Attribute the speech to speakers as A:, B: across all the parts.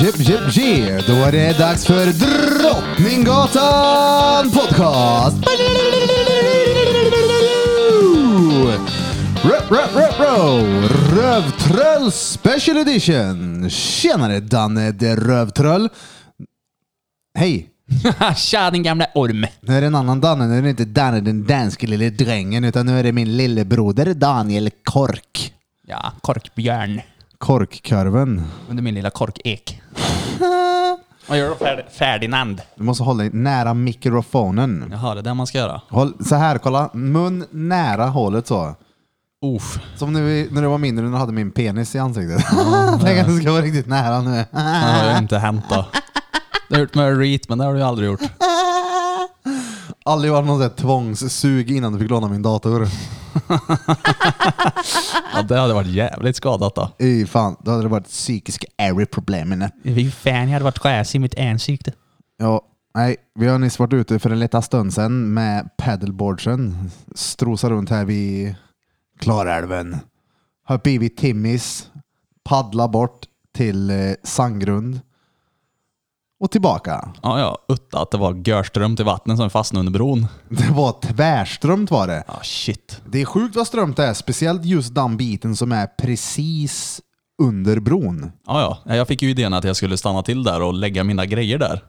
A: Jep, jep, jep. Då är det dags för Drottninggatan Podcast! Rup, rup, rup, rup. Rövtröll Special Edition! Tjenare Danne de Rövtröll! Hej!
B: Tja din gamla orm!
A: Nu är det en annan Danne, nu är det inte Danne den danske lille drängen utan nu är det min lillebroder Daniel Kork.
B: Ja, korkbjörn.
A: Korkkorven.
B: Under min lilla korkek. Vad gör du Fer- Ferdinand?
A: Du måste hålla dig nära mikrofonen.
B: Jaha, det är det man ska göra.
A: Håll, så här, kolla. Mun nära hålet så.
B: Uff.
A: Som när, vi, när du var mindre när du hade min penis i ansiktet. Tänk att det ska vara riktigt nära nu.
B: Det har ju inte hänt då. Det har gjort med Reet, men det har du ju aldrig gjort.
A: Aldrig varit någon sån här tvångssug innan du fick låna min dator.
B: Ja, det hade varit jävligt skadat då.
A: I fan, då hade det varit psykiska airy-problemen.
B: Fy fan, jag hade varit skäs i mitt ansikte.
A: Ja, nej, vi har nyss varit ute för en liten stund sedan med paddleboardsen. Strosa runt här vid Klarälven. Hopp i vid Timmis. Paddla bort till eh, Sandgrund. Och tillbaka.
B: Ja, ja. Utta att det var görströmt i vattnet som fastnade under bron.
A: Det var tvärströmt var det.
B: Ja, Ah, shit.
A: Det är sjukt vad strömt det är, speciellt just den biten som är precis under bron.
B: Ja, ja. Jag fick ju idén att jag skulle stanna till där och lägga mina grejer där.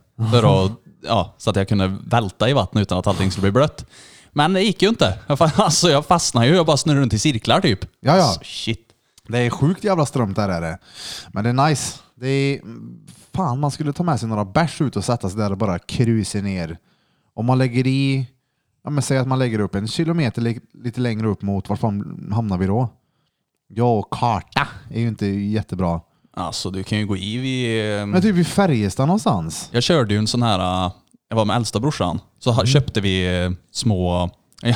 B: För att, ja, så att jag kunde välta i vattnet utan att allting skulle bli blött. Men det gick ju inte. Jag, fa- alltså, jag fastnade ju. Jag bara snurrade runt i cirklar typ.
A: Ja, ja.
B: Alltså, shit.
A: Det är sjukt jävla strömt där är det. Men det är nice. Det är, fan, man skulle ta med sig några bärs ut och sätta sig där och bara krusa ner. Om man lägger i, ja men säg att man lägger upp en kilometer li- lite längre upp mot, var fan hamnar vi då? Ja, och karta är ju inte jättebra.
B: Alltså du kan ju gå i vid... eh,
A: Men typ vid Färjestad någonstans.
B: Jag körde ju en sån här... eh, Jag var med äldsta brorsan. Så ha- köpte vi eh, små...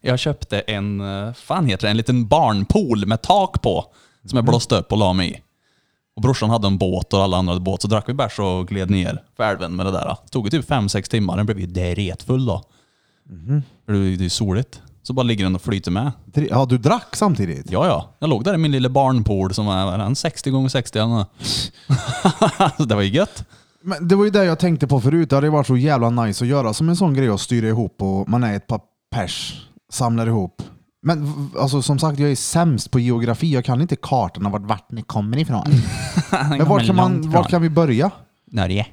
B: jag köpte en, eh, fan heter det, en liten barnpool med tak på. Som jag blåste upp och la mig i. Och brorsan hade en båt och alla andra hade båt. Så drack vi bärs och gled ner för älven med det där. Det tog ju typ 5-6 timmar. Den blev ju dretfull då. För det är ju- det är ju soligt. Så bara ligger den och flyter med.
A: Tre- Ja, du drack samtidigt?
B: Ja, ja. Jag låg där i min lilla barnpool som var var den 60 gånger 60 eller nåt? Alltså, Det var ju gött.
A: Men det var ju det jag tänkte på förut. Det hade ju varit så jävla nice att göra som en sån grej att styra ihop och man är ett par pers, samlar ihop. Men v- alltså, som sagt, jag är sämst på geografi. Jag kan inte kartorna vart vattnet kommer ifrån. Men vart kan, man, vart kan vi börja?
B: Norge.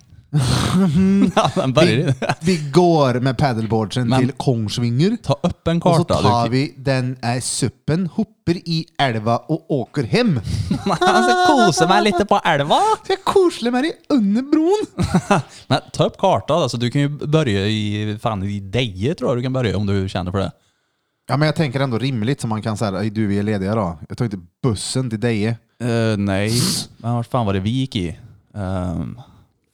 B: ja, men börjar
A: Vi, vi går med paddleboardsen
B: Men-
A: till Kongsvinger.
B: Ta upp en
A: Och så
B: karta.
A: tar
B: du-
A: vi den här suppen, hoppar i älva och åker hem.
B: Man ska kosa mig lite på älva.
A: Jag korslar med dig under bron.
B: Men ta upp kartan. Alltså, du kan ju börja i, fan, i Deje tror jag du kan börja om du känner för det.
A: Ja, men jag tänker ändå rimligt som man kan säga, "Ej, du vi är lediga då. Jag tar inte bussen till Deje.
B: Eh, nej. Men vart fan var det vi gick i? Ehm,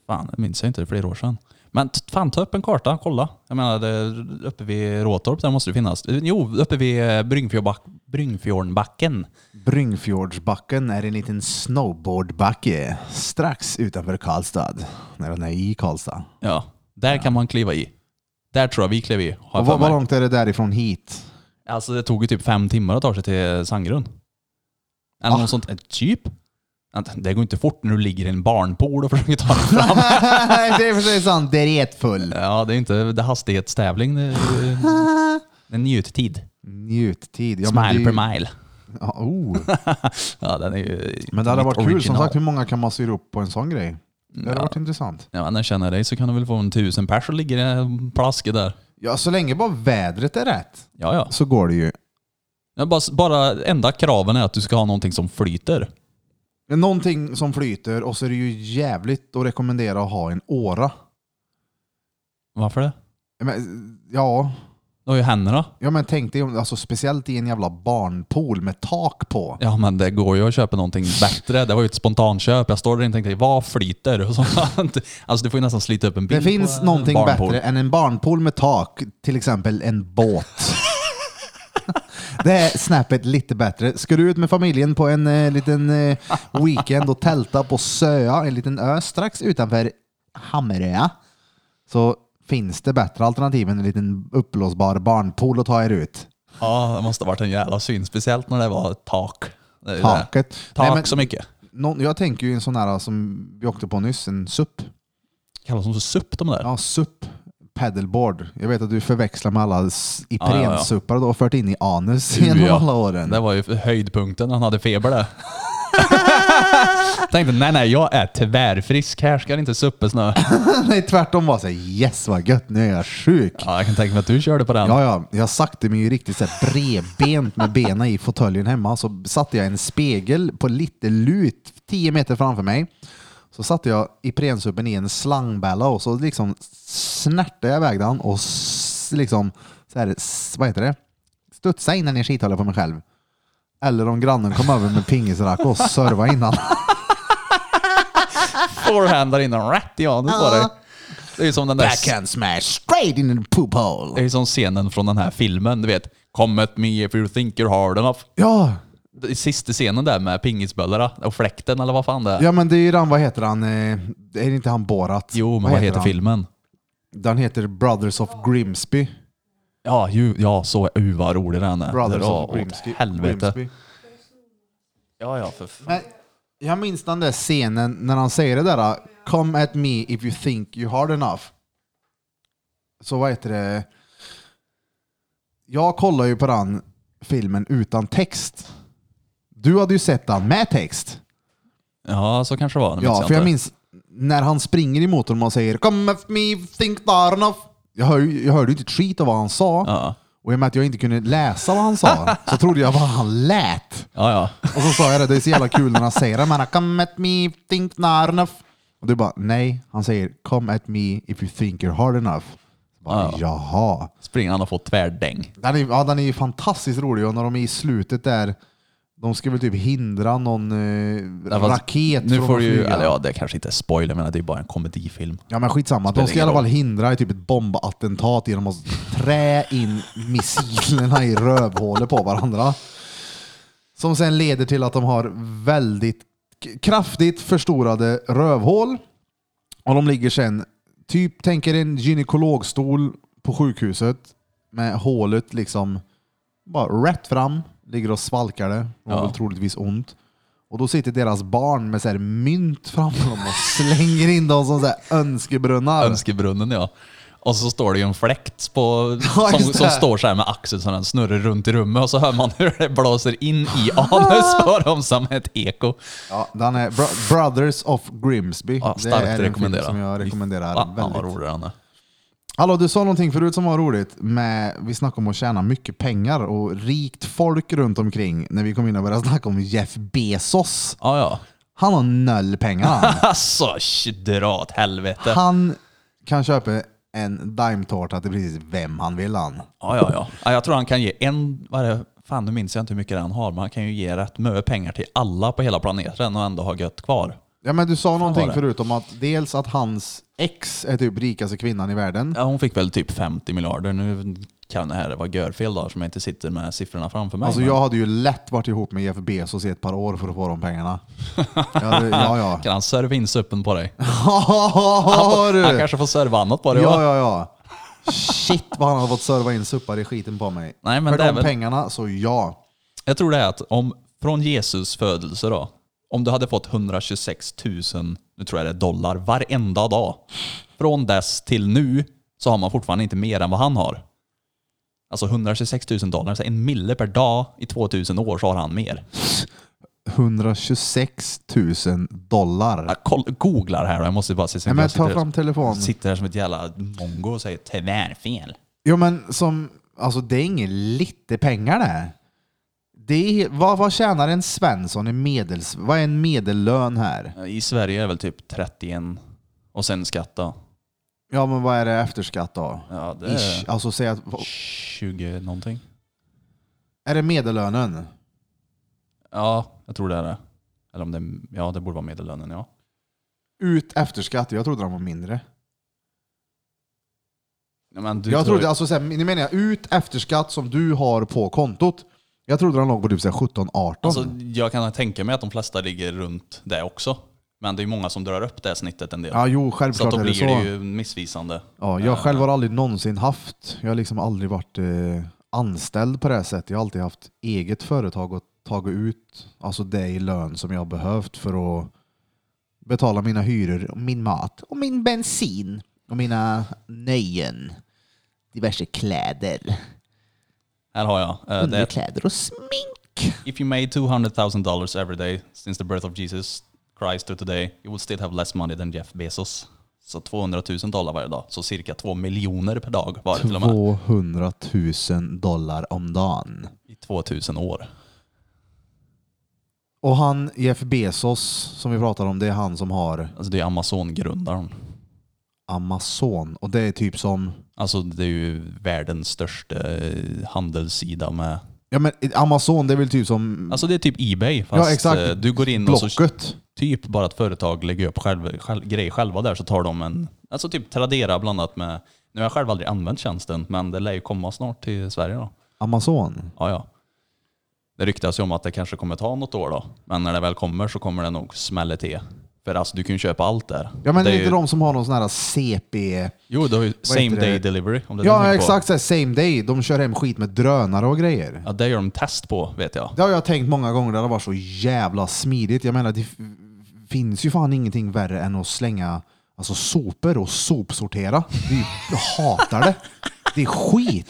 B: fan, det minns jag inte. Det är flera år sedan. Men t- fan, ta upp en karta. Kolla. Jag menar, det, uppe vid Råtorp, där måste det finnas. Jo, uppe vid eh, Bryngfjordback, Bryngfjordbacken.
A: Bryngfjordsbacken är en liten snowboardbacke strax utanför Karlstad. När den är i Karlstad.
B: Ja, där kan man kliva i. Där tror jag vi klev i. har jag
A: Och
B: för
A: vad,
B: mig.
A: vad långt är det därifrån hit?
B: Alltså det tog ju typ fem timmar att ta sig till Sandgrund. Eller
A: Ah.
B: något sånt. eh, Typ. Att Det går inte fort när du ligger i en barnpool och försöker ta dig fram.
A: det är för sig sant. Det är retfull.
B: ja, det är inte det är hastighetstävling. Det är, det är njuttid.
A: Njut-tid. Ja, men
B: Smile
A: det är
B: per mile.
A: ju- Ja, oh.
B: Ja, den är ju
A: Men det hade
B: mitt
A: varit kul. Som
B: original.
A: sagt, hur många kan man styra upp på en sån grej? Det hade varit intressant.
B: Ja, men när jag känner dig så kan du väl få en tusen pers och ligga i en plaske där.
A: Ja, så länge bara vädret är rätt
B: Ja, ja.
A: så går det ju.
B: ja bara, bara enda kraven är att du ska ha någonting som flyter.
A: Men Någonting som flyter och så är det ju jävligt att rekommendera att ha en åra.
B: Varför det?
A: Men, ja,
B: Du har ju händerna.
A: Ja men tänk dig, om- alltså, speciellt i en jävla barnpool med tak på.
B: Ja men det går ju att köpa någonting bättre. Det var ju ett spontanköp. Jag står där och tänkte, vad flyter? Och så, alltså du får ju nästan slita upp en bil
A: Det finns
B: på en
A: någonting
B: barnpool.
A: bättre än en barnpool med tak, till exempel en båt. Det är snäppet lite bättre. Ska du ut med familjen på en eh, liten eh, weekend och tälta på Söa, en liten ö strax utanför Hammarö, så finns det bättre alternativ än en liten uppblåsbar barnpool att ta er ut.
B: Ja, det måste ha varit en jävla syn. Speciellt när det var tak. Det är ju det.
A: Taket.
B: Tak
A: Nej, men-
B: så mycket.
A: någon, jag tänker ju en sån här som vi åkte på nyss, en SUP.
B: Kallas de så SUP de där?
A: Ja, SUP. Paddleboard. Jag vet att du förväxlar med alla s-
B: ja, ja.
A: Ipren-suppar du har fört in i anus
B: Uh,
A: genom
B: ja.
A: alla åren.
B: Det var ju höjdpunkten när han hade feber där. Tänkte nej nej, jag är tvärfrisk. Här ska det inte suppes nu.
A: Nej, tvärtom var så här, yes vad gött, nu är jag sjuk.
B: Ja, jag kan tänka mig att du körde på den.
A: Ja, ja, jag satte mig ju riktigt så här bredbent med benen i fåtöljen hemma. Så satte jag en spegel på lite lut, 10 meter framför mig. Så satte jag Iprensuppen i en slangbella och så liksom snärtade jag iväg den och s- liksom, så här, s- vad heter det? Studsade in den i skithålet på mig själv. Eller om grannen kom över med pingisrack och servade innan.
B: Forehand där inne, rätt i anus var det. Det är ju som den där...
A: Backhand smash straight in the poop
B: Det
A: hole.
B: är ju som scenen från den här filmen, du vet. Come at me if you think you're hard enough.
A: Ja,
B: Det är Sista scenen där med pingisböllarna och fläkten eller vad fan det är.
A: ja men det är ju den, vad heter han? eh, Är det inte han Borat?
B: Jo, men vad heter,
A: han?
B: filmen?
A: Den heter Brothers of Grimsby.
B: Ja, ju, ja så uh, vad rolig den är.
A: Brothers
B: Dra
A: of
B: åt
A: Grimsby.
B: Helvete.
A: Grimsby.
B: Ja, ja, för fan.
A: Men jag minns den där scenen när han säger det där Come at me if you think you hard enough. Så vad heter det? Jag kollar ju på den filmen utan text. Du hade ju sett den med text.
B: Ja, Liksom, så kanske det var. Det minns
A: Ja, för jag
B: inte.
A: minns när han springer emot honom och säger Come at me if you think you hard enough. Jag, hör, ju- jag hörde ju inte ett skit av vad han sa.
B: Ja,
A: Och i och med att jag inte kunde läsa vad han sa så trodde jag vad han lät.
B: ja. ja.
A: Och så sa jag det, det är så jävla kul när han säger det. Men han, come at me, if you think not enough. Och du bara, nej. Han säger, come at me if you think you're hard enough. Jag Bara,
B: Ja.
A: Jaha.
B: Springaren har fått tvärdäng.
A: Den är, ja, den är ju fantastiskt rolig och när de är i slutet där, de ska väl typ hindra någon eh,
B: Ja, fast
A: raket
B: Nu
A: från
B: får
A: att
B: du ju,
A: flyga.
B: eller ja, det kanske inte är spoiler, men det är bara en komedifilm.
A: Ja men skitsamma,
B: Spelar
A: de ska i alla
B: ingen
A: fall hindra typ ett bombattentat genom att trä in missilerna i rövhålet på varandra. Som sen leder till att de har väldigt k- kraftigt förstorade rövhål. Och de ligger sen, typ tänker en gynekologstol på sjukhuset med hålet liksom bara rätt fram, ligger och svalkar det. De har
B: Ja.
A: väl troligtvis ont. Och då sitter deras barn med så här mynt framför dem och slänger in dem som så här önskebrunnar.
B: Önskebrunnen ja. Och så står det ju en fläkt på,
A: Ja,
B: som,
A: just det.
B: som står så här med axeln så den snurrar runt i rummet och så hör man hur det blåser in i anus på dem som ett eko.
A: ja, den är Bro- Brothers of Grimsby.
B: Ja,
A: det
B: starkt
A: är en film
B: rekommendera.
A: som jag rekommenderar
B: Fan vad
A: väldigt.
B: rolig den är.
A: Hallå, du sa någonting förut som var roligt. Med, vi snackade om att tjäna mycket pengar och rikt folk runt omkring när vi kom in och började snacka om Jeff Bezos.
B: Ja, ja.
A: Han har noll pengar han.
B: Alltså, sh- dra åt helvete.
A: Han kan köpa en daimtårta till precis vem han vill han.
B: Ja, ja, ja. ja. Jag tror han kan ge en, vad är det, fan nu minns jag inte hur mycket han har, men han kan ju ge rätt mycket pengar till alla på hela planeten och ändå ha gött kvar.
A: Ja, men du sa
B: var
A: någonting
B: det?
A: förut om att dels att hans ex är typ rikaste kvinnan i världen.
B: Ja, hon fick väl typ 50 miljarder. Nu kan det här vara görfel då, som jag inte sitter med siffrorna framför mig.
A: Alltså
B: men
A: jag hade ju lätt varit ihop med Jeff Bezos i ett par år för att få de pengarna. Ja, det- ja. ja.
B: Kan han serva in suppen på dig?
A: Har du?
B: Han kanske får serva annat på dig
A: Ja,
B: va?
A: ja, ja. Shit vad han har fått serva in suppar i skiten på mig.
B: Nej, men
A: för
B: det är
A: de
B: väl-
A: pengarna, så ja.
B: Jag tror det är att om, från Jesus födelse då, om du hade fått 126 000, nu tror jag det är dollar, varenda dag. Från dess till nu så har man fortfarande inte mer än vad han har. Alltså 126 000 dollar, så en mille per dag i 2000 år så har han mer.
A: 126 000 dollar.
B: Jag koll, googlar här då, jag måste bara se.
A: Nej, men ta
B: sitter-
A: fram telefonen.
B: Sitter här som ett jävla mongo och säger tvärfel.
A: Jo men som, alltså det är inget lite pengar det. det är, vad, vad tjänar en Svensson i medels... Vad är en medellön här?
B: I Sverige är väl typ 31 och sen skatt då.
A: Ja men vad är det efter skatt då?
B: Ja, det
A: Ish.
B: är
A: Alltså säg att,
B: 20 någonting.
A: är det medellönen?
B: Ja, jag tror det är det. Eller om det, ja, det borde vara medellönen, ja.
A: Ut efter skatt, jag trodde den var mindre.
B: ja men du
A: jag
B: tror-
A: trodde, alltså såhär, nu menar jag ut efter skatt som du har på kontot. Jag trodde den låg på typ 17-18.
B: alltså, jag kan tänka mig att de flesta ligger runt det också. Men det är många som drar upp det här snittet en del.
A: ja jo,
B: så att
A: självklart
B: då
A: är det
B: blir
A: så.
B: det ju missvisande.
A: Ja, jag själv har aldrig någonsin haft, jag har liksom aldrig varit eh, anställd på det här sättet. Jag har alltid haft eget företag och tagit ut alltså det i lön som jag har behövt för att betala mina hyror, och min mat och min bensin och mina nöjen. Diverse kläder,
B: Här har jag. eh, det är
A: underkläder och smink.
B: If you made $200,000 every day since the birth of Jesus Christ to today, you would still have less money than Jeff Bezos. Så 200 000 dollar varje dag, så cirka 2 miljoner per dag var det till och med.
A: 200 000 dollar om dagen.
B: I 2000 år.
A: Och han Jeff Bezos som vi pratade om, det är han som har
B: Alltså det är Amazon-grundaren.
A: Amazon. Och det är typ som...
B: Alltså det är ju världens största eh, handelssida med...
A: Ja men Amazon det är väl typ som
B: Alltså det är typ Ebay, fast
A: Ja, exakt.
B: eh, du går in och så
A: Blocket.
B: typ bara ett företag lägger upp själv, själv, grejer själva där så tar de en... Alltså typ Tradera bland annat med... Nu har jag själv aldrig använt tjänsten, men det lär ju komma snart till Sverige då.
A: Amazon.
B: Ja, ja. Det ryktas ju om att det kanske kommer ta något år då. Men när det väl kommer så kommer det nog smälla till. För alltså du kan ju köpa allt där.
A: Ja men
B: det
A: det
B: är
A: är inte
B: ju,
A: de som har någon sån här CP...
B: Jo, det har ju
A: Vad heter
B: same day
A: det?
B: delivery. Om det är det du
A: Ja
B: tänker
A: exakt så här, same day. De kör hem skit med drönare och grejer.
B: På. Ja, det gör de test på vet jag.
A: Det har jag tänkt många gånger, det har varit så jävla smidigt. Jag menar det f- finns ju fan ingenting värre än att slänga alltså, sopor och sopsortera. Det är ju- Jag hatar det. Det är skit.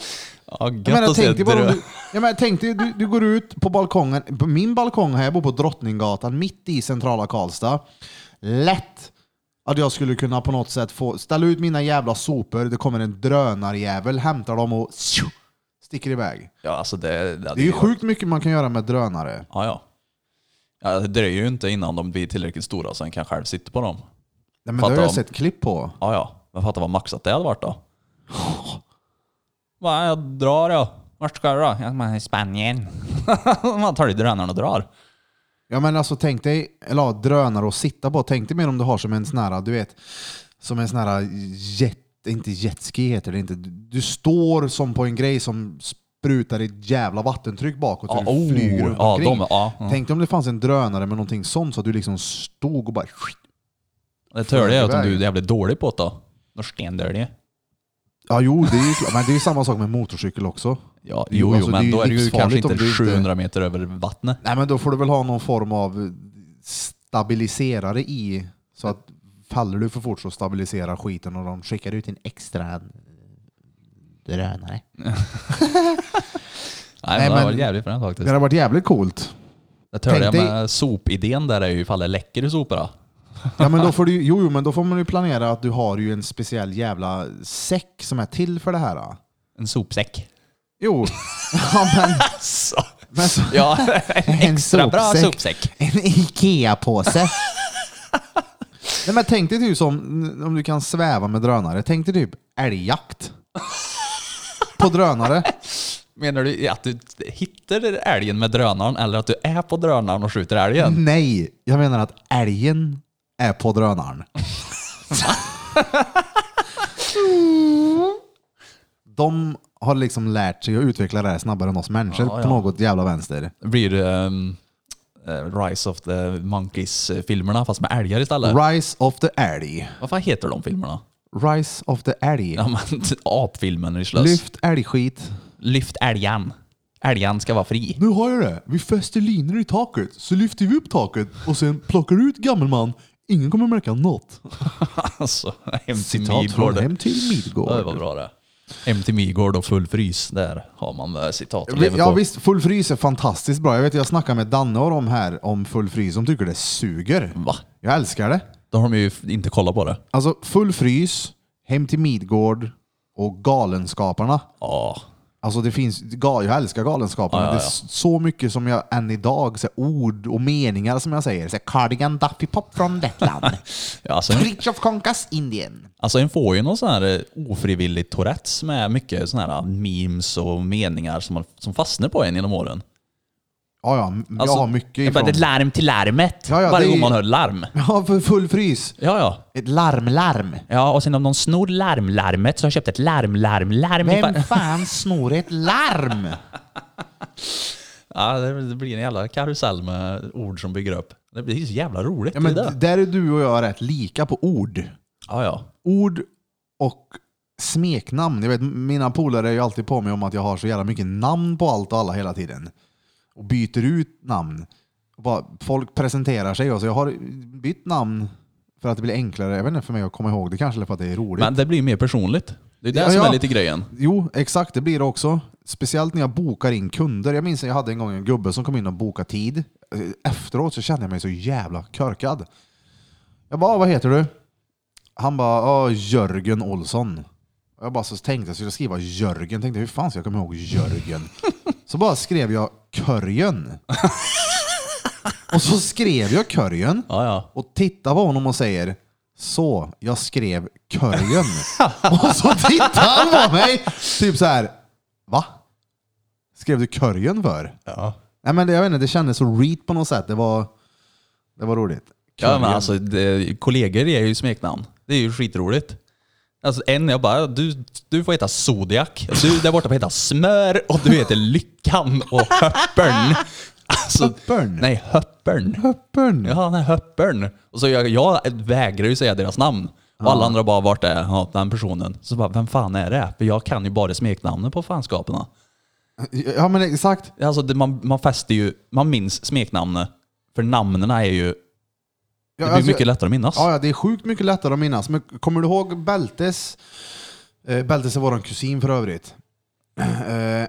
B: Ja, gött
A: Jag menar,
B: att se
A: tänk dig bara om
B: drö-
A: du, jag menar, tänk dig, du, du går ut på balkongen, på min balkong här, jag bor på Drottninggatan, mitt i centrala Karlstad. Lätt att jag skulle kunna på något sätt få ställa ut mina jävla sopor, det kommer en drönarjävel, hämtar dem och tju, sticker iväg.
B: Ja, alltså det... ja,
A: Det är ju sjukt mycket man kan göra med drönare.
B: Ja, ja. ja det dröjer ju inte innan de blir tillräckligt stora så en kan själv sitta på dem.
A: Nej, men det
B: Fattar
A: har jag
B: om.
A: sett klipp på.
B: Ja, ja. Men fatta vad maxat det hade varit då. Va, jag drar jag. Vart ska du då? Ja, men i Spanien. Man tar ju drönaren och drar.
A: Ja men alltså tänk dig, eller ja, drönare att sitta på. Tänk dig mer om du har som en sån här, du vet, som en sån här jet, inte jetski heter det inte. Du- Du står som på en grej som sprutar ett jävla vattentryck bakåt och
B: Ja,
A: du
B: oh,
A: flyger runt
B: ja,
A: omkring.
B: de, ja, mm.
A: Tänk dig om det fanns en drönare med någonting sånt så att du liksom stod och bara...
B: Det törliga är att om
A: iväg.
B: du är jävligt dålig på det då. Då är stendörlig.
A: Ja jo, det är ju klart. Men det är ju samma sak med motorcykel också.
B: Ja, jo,
A: Alltså,
B: jo,
A: det är
B: men
A: ju
B: då är det ju kanske
A: livsfarligt om
B: inte
A: du inte-
B: 700 meter över vattnet.
A: Nej men då får du väl ha någon form av stabiliserare i så att faller du för fort så stabiliserar skiten och de skickar ut en extra drönare.
B: Nej,
A: Nej,
B: men det var
A: men-
B: jävligt fränt
A: Det
B: faktiskt.
A: hade varit jävligt coolt.
B: Det törliga
A: tänk dig-
B: med sopidén där är ju ifall det läcker i soporna.
A: Ja, men då får du, ju- jo, jo, men då får man ju planera att du har ju en speciell jävla säck som är till för det här. då.
B: En sopsäck.
A: Jo, ja, men,
B: Alltså.
A: men så,
B: Ja, en
A: En
B: extra bra
A: sopsäck.
B: sopsäck.
A: en Ikea-påse. Nej, men tänk dig typ som om du kan sväva med drönare. Tänk dig typ älgjakt. På drönare.
B: Menar du att du hittar älgen med drönaren eller att du är på drönaren och skjuter älgen?
A: Nej, jag menar att älgen är på drönaren. De har liksom lärt sig att utveckla det här snabbare än oss människor
B: Ja, ja.
A: på något jävla vänster.
B: Det blir ehm, eh, Rise of the Monkeys-filmerna fast med älgar istället.
A: Rise of the Älg.
B: Vad fan heter de filmerna?
A: Rise of the Älg.
B: Ja, men, apfilmen är slös.
A: Lyft älgskit.
B: Lyft älgan. Älgan ska vara fri.
A: Nu har jag det. Vi fäster linor i taket, så lyfter vi upp taket och sen plockar ut gammelman. Ingen kommer märka något.
B: Alltså, hem till
A: Citat från
B: Midgård.
A: Hem till
B: Ja, Det var
A: Midgård.
B: bra det. Hem till Midgård och full frys. Där har man eh, citat att leva
A: Ja
B: på.
A: visst, full frys är fantastiskt bra. Jag vet jag snackade med Danne och de här om full frys. De tycker det suger.
B: Va?
A: Jag älskar det.
B: Då har de ju f- inte kollat på det.
A: Alltså full frys, Hem till Midgård och Galenskaparna.
B: Ja.
A: Alltså det finns, ga- jag älskar Galenskaparna.
B: Ja, ja,
A: Det är
B: ja.
A: s- så mycket som jag än idag, så här, ord och meningar som jag säger. Så här, Cardigan Daffy Pop från Lettland.
B: Ja, alltså,
A: Fritiof Konkas Indien.
B: alltså en får ju någon sån här eh, ofrivillig Tourettes med mycket sån här eh, memes och meningar som, man- som fastnar på en genom åren.
A: Ja, ja, m- jag
B: Alltså,
A: har mycket
B: det är bara
A: ifrån.
B: Ett larm till larmet.
A: Ja, ja, det
B: Varje
A: är
B: gång
A: ju-
B: man hör larm.
A: Ja, för full frys.
B: Ja, ja.
A: Ett larmlarm.
B: Ja, och sen om någon snor larmlarmet så har jag köpt ett larmlarmlarm.
A: Vem fan snor ett larm?
B: Ja, det det blir en jävla karusell med ord som bygger upp. Det blir så jävla roligt.
A: Ja, men
B: det är det.
A: där är du och jag rätt lika på ord.
B: ja, ja.
A: Ord och smeknamn. Jag vet, mina polare är ju alltid på mig om att jag har så jävla mycket namn på allt och alla hela tiden. och byter ut namn. Och bara, folk presenterar sig. Alltså jag har bytt namn för att det blir enklare jag vet inte, för mig att komma ihåg det kanske, eller för att det är roligt.
B: Men det blir ju mer personligt. Det är det
A: Ja,
B: som
A: ja.
B: är lite grejen.
A: Jo, exakt. Det blir det också. Speciellt när jag bokar in kunder. Jag minns att jag hade en gång en gubbe som kom in och bokade tid. Eh, Efteråt så kände jag mig så jävla körkad. Jag bara, "Ah, vad heter du? Han bara, "Ja, Jörgen Olsson. Och Jag bara så tänkte jag skulle skriva Jörgen. Tänkte hur fan ska jag komma ihåg Jörgen? Så bara skrev jag Körjen. Och så skrev jag Körjen
B: Ja, ja.
A: och tittar på honom och säger så, jag skrev körgen. och så tittar han på mig, typ så här. Va? Skrev du körgen för?
B: Ja,
A: Nej men det, jag vet inte, det kändes så reat på något sätt. Det var, det var roligt.
B: men
A: Körgen.
B: alltså det, kollegor är ju smeknamn. Det är ju skitroligt. Alltså en, jag bara, du, du får heta Zodiac. Du där borta får heta Smör och du heter Lyckan och Höppern. Alltså,
A: Höppern?
B: Nej, Höppern.
A: Höppern.
B: Ja, nej, Höppern. Och så jag, jag vägrar ju säga deras namn. Och alla andra bara, vart är ja, den personen? Så bara, vem fan är det? För jag kan ju bara smeknamnen på fanskaperna.
A: Ja men exakt.
B: Alltså det, man, man fäster ju, man minns smeknamnet. För namnen är ju, det
A: Ja,
B: blir
A: alltså,
B: mycket lättare att minnas.
A: Ja, ja, det är sjukt mycket lättare att minnas. Men kommer du ihåg Bältes? Eh, Bältes är vår kusin för övrigt. Eh,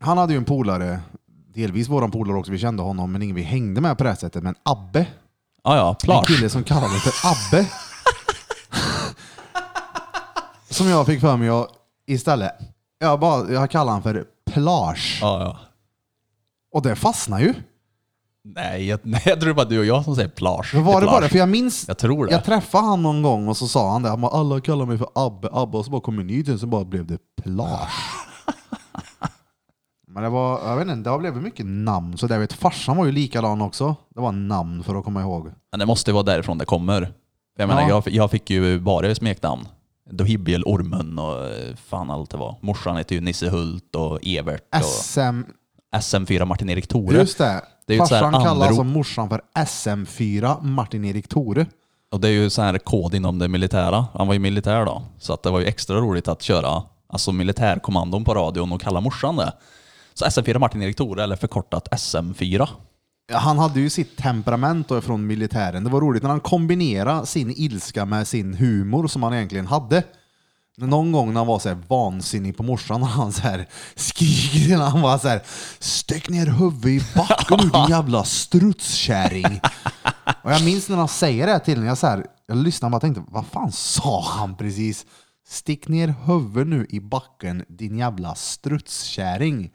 A: han hade ju en polare, delvis våran polare också, vi kände honom, men ingen vi hängde med på det här sättet. Men Abbe,
B: Ja, ja,
A: en
B: Plars.
A: kille som kallades för Abbe. som jag fick för mig att istället, jag, bara, jag kallade han för Plage.
B: Ja, ja.
A: Och det fastnade ju.
B: Nej, jag, nej, jag tror bara du och jag som säger plage.
A: Men var det
B: plage.
A: bara för jag minns,
B: Jag tror det.
A: jag träffade han någon gång och så sa han det, han bara, alla kallar mig för Abbe, Abbe och så bara kom en ny till så bara blev det Plage. Men det var, jag vet inte, det har blivit mycket namn. Så där vet, farsan var ju likadan också. Det var namn för att komma ihåg.
B: Men det måste ju vara därifrån det kommer. Jag menar,
A: Ja.
B: jag, jag fick ju bara smeknamn. Dohibiel, Ormen och eh, fan allt det var. Morsan heter ju Nisse Hult och Evert
A: SM,
B: och SM4 Martin-Erik Thore.
A: just det.
B: Det är ju ett så här
A: Farsan kallar
B: anrop.
A: alltså morsan för SM4 Martin-Erik Tore.
B: Och det är ju så här kod inom det militära. Han var ju militär då. Så att det var ju extra roligt att köra alltså militärkommandon på radion och kalla morsan det. Så SM4 Martin-Erik Thore, eller förkortat SM4.
A: Han hade ju sitt temperament då från militären. Det var roligt när han kombinerade sin ilska med sin humor som han egentligen hade. Men Någon gång när han var så här vansinnig på morsan och han så här skriker, han var så här Stäck ner huvudet i backen nu din jävla strutskärring. Och jag minns när han säger det här till mig, jag, så här, jag lyssnade och bara tänkte, vad fan sa han precis? Stick ner huvudet nu i backen din jävla strutskärring.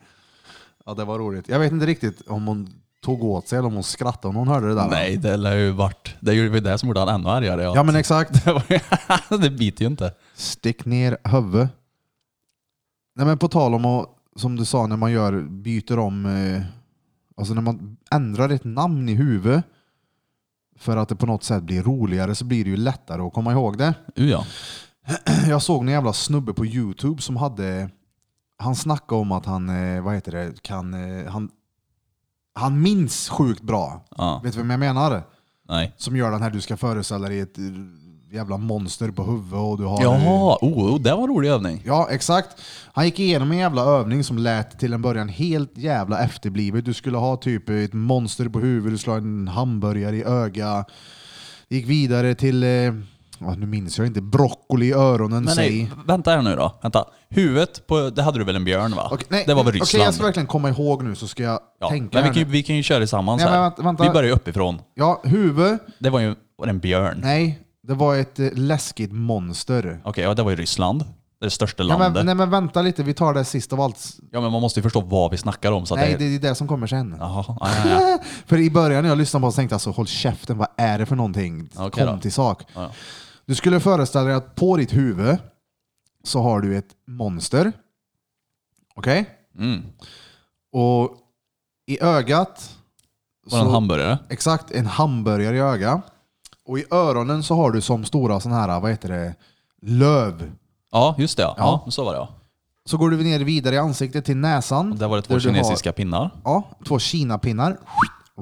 A: Ja, det var roligt. Jag vet inte riktigt om hon tog åt sig eller om hon skrattade om hon hörde det där.
B: Nej, det lär ju varit... Det är ju det som gjorde han ännu argare.
A: Ja, men exakt.
B: Det var- det biter ju inte.
A: Stick ner huvudet. Nej men på tal om att, som du sa, när man gör, byter om, eh, alltså när man ändrar ett namn i huvudet för att det på något sätt blir roligare så blir det ju lättare att komma ihåg det.
B: Uh, ja.
A: Jag såg en jävla snubbe på Youtube som hade, han snackade om att han, eh, vad heter det, kan, eh, han, han minns sjukt bra.
B: Ja.
A: Vet du vem jag menar?
B: Nej.
A: Som gör den här, du ska föreställa dig ett eh, jävla monster på huvudet och du har...
B: Jaha, oh, oh, det var en rolig övning.
A: Ja, exakt. Han gick igenom en jävla övning som lät till en början helt jävla efterblivet. Du skulle ha typ ett monster på huvudet, du skulle ha en hamburgare i öga. Det gick vidare till, eh, ja, nu minns jag inte, broccoli i öronen,
B: Men
A: säg.
B: nej, vänta här nu då. Vänta. Huvudet på... Det hade du väl en björn va?
A: Okej, nej,
B: det var väl
A: okej,
B: Ryssland?
A: jag ska verkligen komma ihåg nu så ska jag
B: ja.
A: tänka
B: Men vi
A: här
B: kan, ju,
A: nu.
B: vi kan ju köra tillsammans
A: Nej,
B: här.
A: men vänta- vänta.
B: Vi börjar ju uppifrån.
A: Ja, huvud.
B: Det var ju var det en björn.
A: Nej, det var ett eh, läskigt monster.
B: Okej, ja, det var ju Ryssland. Det är det största
A: Ja,
B: landet.
A: men, nej men vänta lite, vi tar det sist av allt.
B: ja, men man måste ju förstå vad vi snackar om. Så att
A: Nej,
B: det...
A: det är det som kommer sen.
B: Jaha, ja, ja, ja.
A: För i början när jag lyssnade på det så tänkte jag alltså håll käften, vad är det för någonting?
B: Okej
A: Kom
B: då.
A: till sak.
B: Ja, ja.
A: Du skulle föreställa dig att på ditt huvud så har du ett monster. Okej?
B: Mm.
A: Och i ögat...
B: Var det en hamburgare?
A: Exakt, en hamburgare i ögat. Och i öronen så har du som stora sådana här, vad heter det, löv.
B: Ja, just det. Ja.
A: Ja.
B: Ja. så var det ja.
A: Så går du ner vidare i ansiktet till näsan.
B: Och Där var det två
A: där du har-
B: kinesiska pinnar.
A: Ja, två kinapinnar.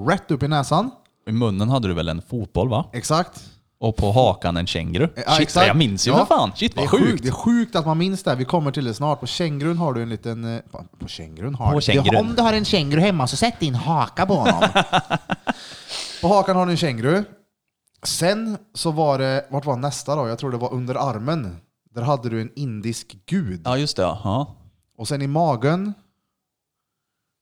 A: Rätt upp i näsan.
B: I munnen hade du väl en fotboll va?
A: Exakt.
B: Och på hakan en känguru. Shit,
A: exakt.
B: jag minns ju
A: Ja.
B: för fan. Shit
A: det är
B: vad
A: sjukt.
B: sjukt.
A: Det är sjukt att man minns det. här. Vi kommer till det snart. På kängurun har du en liten... eh, På, på kängurun har
B: På
A: du-
B: kängurun.
A: Om du har en känguru hemma så sätt din haka på honom. på hakan har du en känguru. Sen så var det... Vart var nästa då? Jag tror det var under armen. Där hade du en indisk gud.
B: Ja just det, ja. ja.
A: Och sen i magen.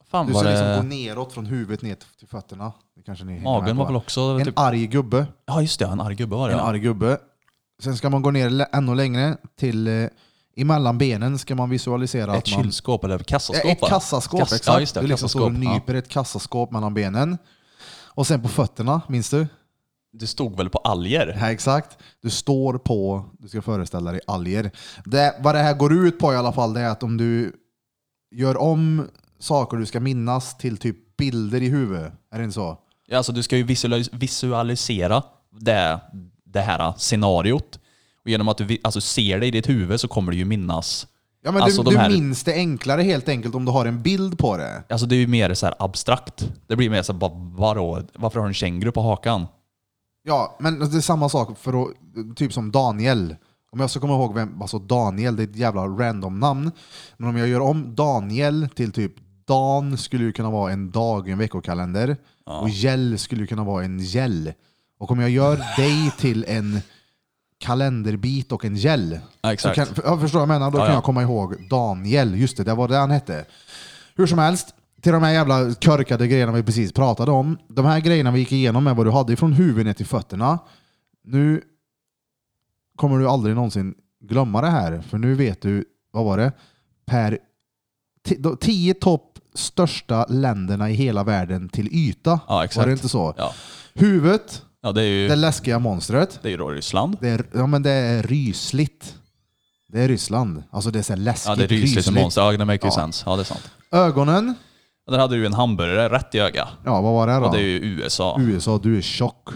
B: Fan
A: Du
B: var
A: ska liksom
B: det...
A: gå neråt från huvudet ner till fötterna. Det kanske ni hänger med
B: Magen
A: på.
B: var väl också...
A: En
B: Typ...
A: arg gubbe.
B: Ja just det, en arg gubbe var det.
A: En
B: ja.
A: arg gubbe. Sen ska man gå ner lä- ännu längre till eh, emellan benen ska man visualisera
B: Ett
A: att man...
B: kylskåp eller kassaskåp
A: Ja, Eh, Ett
B: va?
A: kassaskåp,
B: Kass-
A: exakt.
B: Ja, just det,
A: du liksom står och
B: kassaskåp. Ja.
A: nyper ett kassaskåp mellan benen. Och sen på fötterna, minns du?
B: Det stod väl på alger?
A: Ja, exakt. Du står på, du ska föreställa dig alger. Det, vad det här går ut på i alla fall, det är att om du gör om saker du ska minnas till typ bilder i huvudet, är det inte så?
B: Ja, Alltså du ska ju visualis- visualisera det, det här scenariot. Och genom att du vi- alltså, ser det i ditt huvud så kommer du ju minnas.
A: Ja, men
B: Alltså,
A: du,
B: de
A: du
B: här-
A: minns det enklare helt enkelt om du har en bild på det.
B: Alltså det är ju mer så här abstrakt. Det blir mer så här, va- vadå? Varför har du en känguru på hakan?
A: Ja, men alltså, det är samma sak för att, typ som Daniel. Om jag ska komma ihåg vem, alltså Daniel, det är ett jävla random namn. Men om jag gör om Daniel till typ Dan skulle ju kunna vara en dag i en veckokalender. Och Gäll skulle ju kunna vara en gäll. Och om jag gör dig till en kalenderbit och en gäll.
B: Ja, exakt.
A: så Kan, för- jag förstår vad jag menar, då
B: Ja,
A: kan
B: ja.
A: jag komma ihåg Daniel. Just det, det var det han hette. Hur som helst, till de här jävla körkade grejerna vi precis pratade om. De här grejerna vi gick igenom med vad du hade från huvudet ner till fötterna. Nu kommer du aldrig någonsin glömma det här, för nu vet du, vad var det? Per ti- de tio topp största länderna i hela världen till yta.
B: Ja, exakt.
A: Var det inte så?
B: Ja,
A: Huvudet,
B: ja det är ju,
A: det läskiga monstret.
B: det är ju då Ryssland.
A: Det är, ja, men det är rysligt. Det är Ryssland. Alltså det är så här läskigt.
B: Ja, det är rysligt som monster. Ja, det make ju
A: Ja.
B: sense. Ja, det är sant.
A: Ögonen,
B: Och där hade du ju en hamburgare rätt i ögat.
A: ja vad var det då?
B: Och det är ju USA.
A: USA, du är tjock.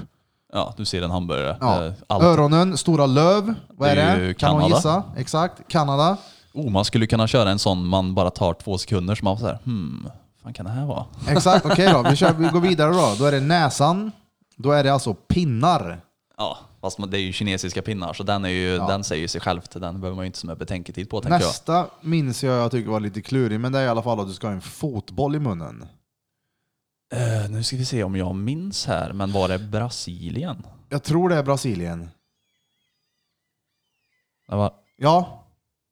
B: Ja, du ser en hamburgare.
A: Mm. Ja.
B: Eh, Allt.
A: Öronen, stora löv. Vad
B: Det
A: är,
B: är
A: det?
B: ju
A: Kan någon
B: Kanada.
A: gissa? Exakt. Kanada.
B: Oh, man skulle kunna köra en sån man bara tar två sekunder så man får såhär, hmm, fan kan det här vara?
A: Exakt, okej då. Vi, kör, vi går vidare då. Då är det näsan. Då är det alltså pinnar.
B: Ja, fast man, det är ju kinesiska pinnar så den, är ju, den säger ju sig själv. Den behöver man ju inte så mycket betänketid på tänker jag.
A: Nästa minns jag jag tycker var lite klurig, men det är i alla fall att du ska ha en fotboll i munnen.
B: Eh, nu ska vi se om jag minns här, men var det Brasilien?
A: Jag tror det är Brasilien.
B: Det var,
A: Ja,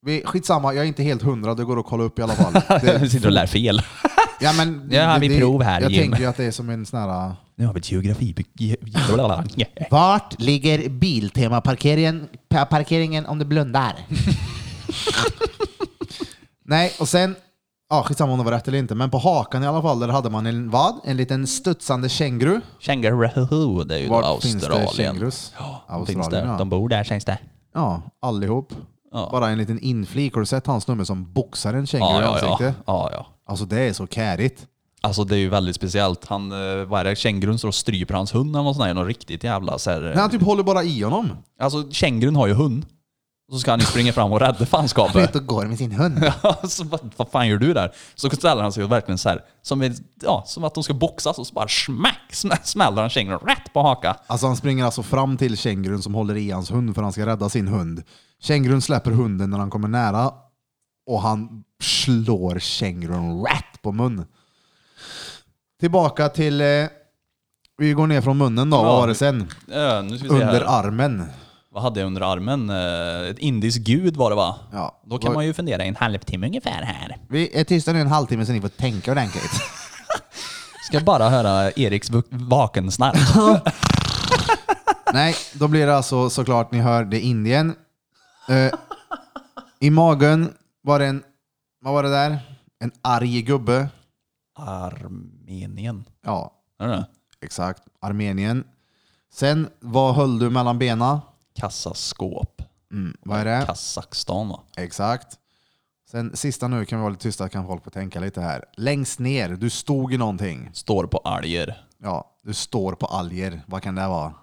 A: vi, skitsamma. Jag är inte helt hundra, det går att kolla upp i alla fall.
B: vi
A: Det,
B: sitter och lär fel.
A: ja, men,
B: Nu har vi
A: det- det-
B: prov här,
A: Jag
B: Jim.
A: tänker ju att det är som en sån här... äh,
B: Nu har vi ett geografi...
A: Vart ligger Biltema-parkeringen om du blundar? Nej, och sen... Ja, skitsamma om det var rätt eller inte, men på hakan i alla fall, där hade man en vad? En liten studsande känguru.
B: Känguru, det är ju då
A: Vart finns det
B: Australien.
A: kängurus?
B: De finns
A: Australien,
B: där.
A: ja.
B: De bor där känns det.
A: Ja, allihop.
B: Ja.
A: Bara en liten inflik. Har du sett hans nummer som boxar en känguru
B: Ja,
A: i
B: ja, ja.
A: ansiktet?
B: ja, ja.
A: Alltså det är så kärigt.
B: Alltså det är ju väldigt speciellt. Han, eh, vad är det, kängurun står och stryper hans hund eller något sånt där. Något riktigt jävla så här, eh,
A: Nej, han typ håller bara i honom.
B: Alltså kängurun har ju hund. Och så ska han ju springa fram och rädda
A: Han är
B: fanskapet.
A: ute och går med sin hund.
B: så vad, vad fan gör du där? Så ställer han sig och verkligen så här, som, en- ja, som att de ska boxas och så bara smack sm- smäller han kängurun rätt på haka.
A: Alltså han springer alltså fram till kängurun som håller i hans hund för han ska rädda sin hund. Kängurun släpper hunden när han kommer nära och han slår kängurun rätt på mun. Tillbaka till... Eh, vi går ner från munnen då. Vad var det sen?
B: Eh, nu ska vi se
A: Under
B: här.
A: armen.
B: Vad hade jag under armen? Eh, ett indiskt gud var det va?
A: Ja.
B: Då kan man ju fundera i en halvtimme ungefär här.
A: Vi är tysta nu en halvtimme så ni får tänka ordentligt.
B: Ska bara höra Eriks vak- vakensnark.
A: Nej, då blir det alltså såklart, ni hör, det är Indien. Eh, I magen var det en... Vad var det där? En arg gubbe.
B: Armenien.
A: Ja,
B: Är det det?
A: Exakt. Armenien. Sen, vad höll du mellan benen?
B: Kassaskåp.
A: Mm, vad är det?
B: Kazakstan va?
A: Exakt. Sen sista nu, kan vi vara lite tysta, kan folk få tänka lite här. Längst ner, du stod i någonting.
B: Står på alger.
A: Ja, du står på alger. Vad kan det vara?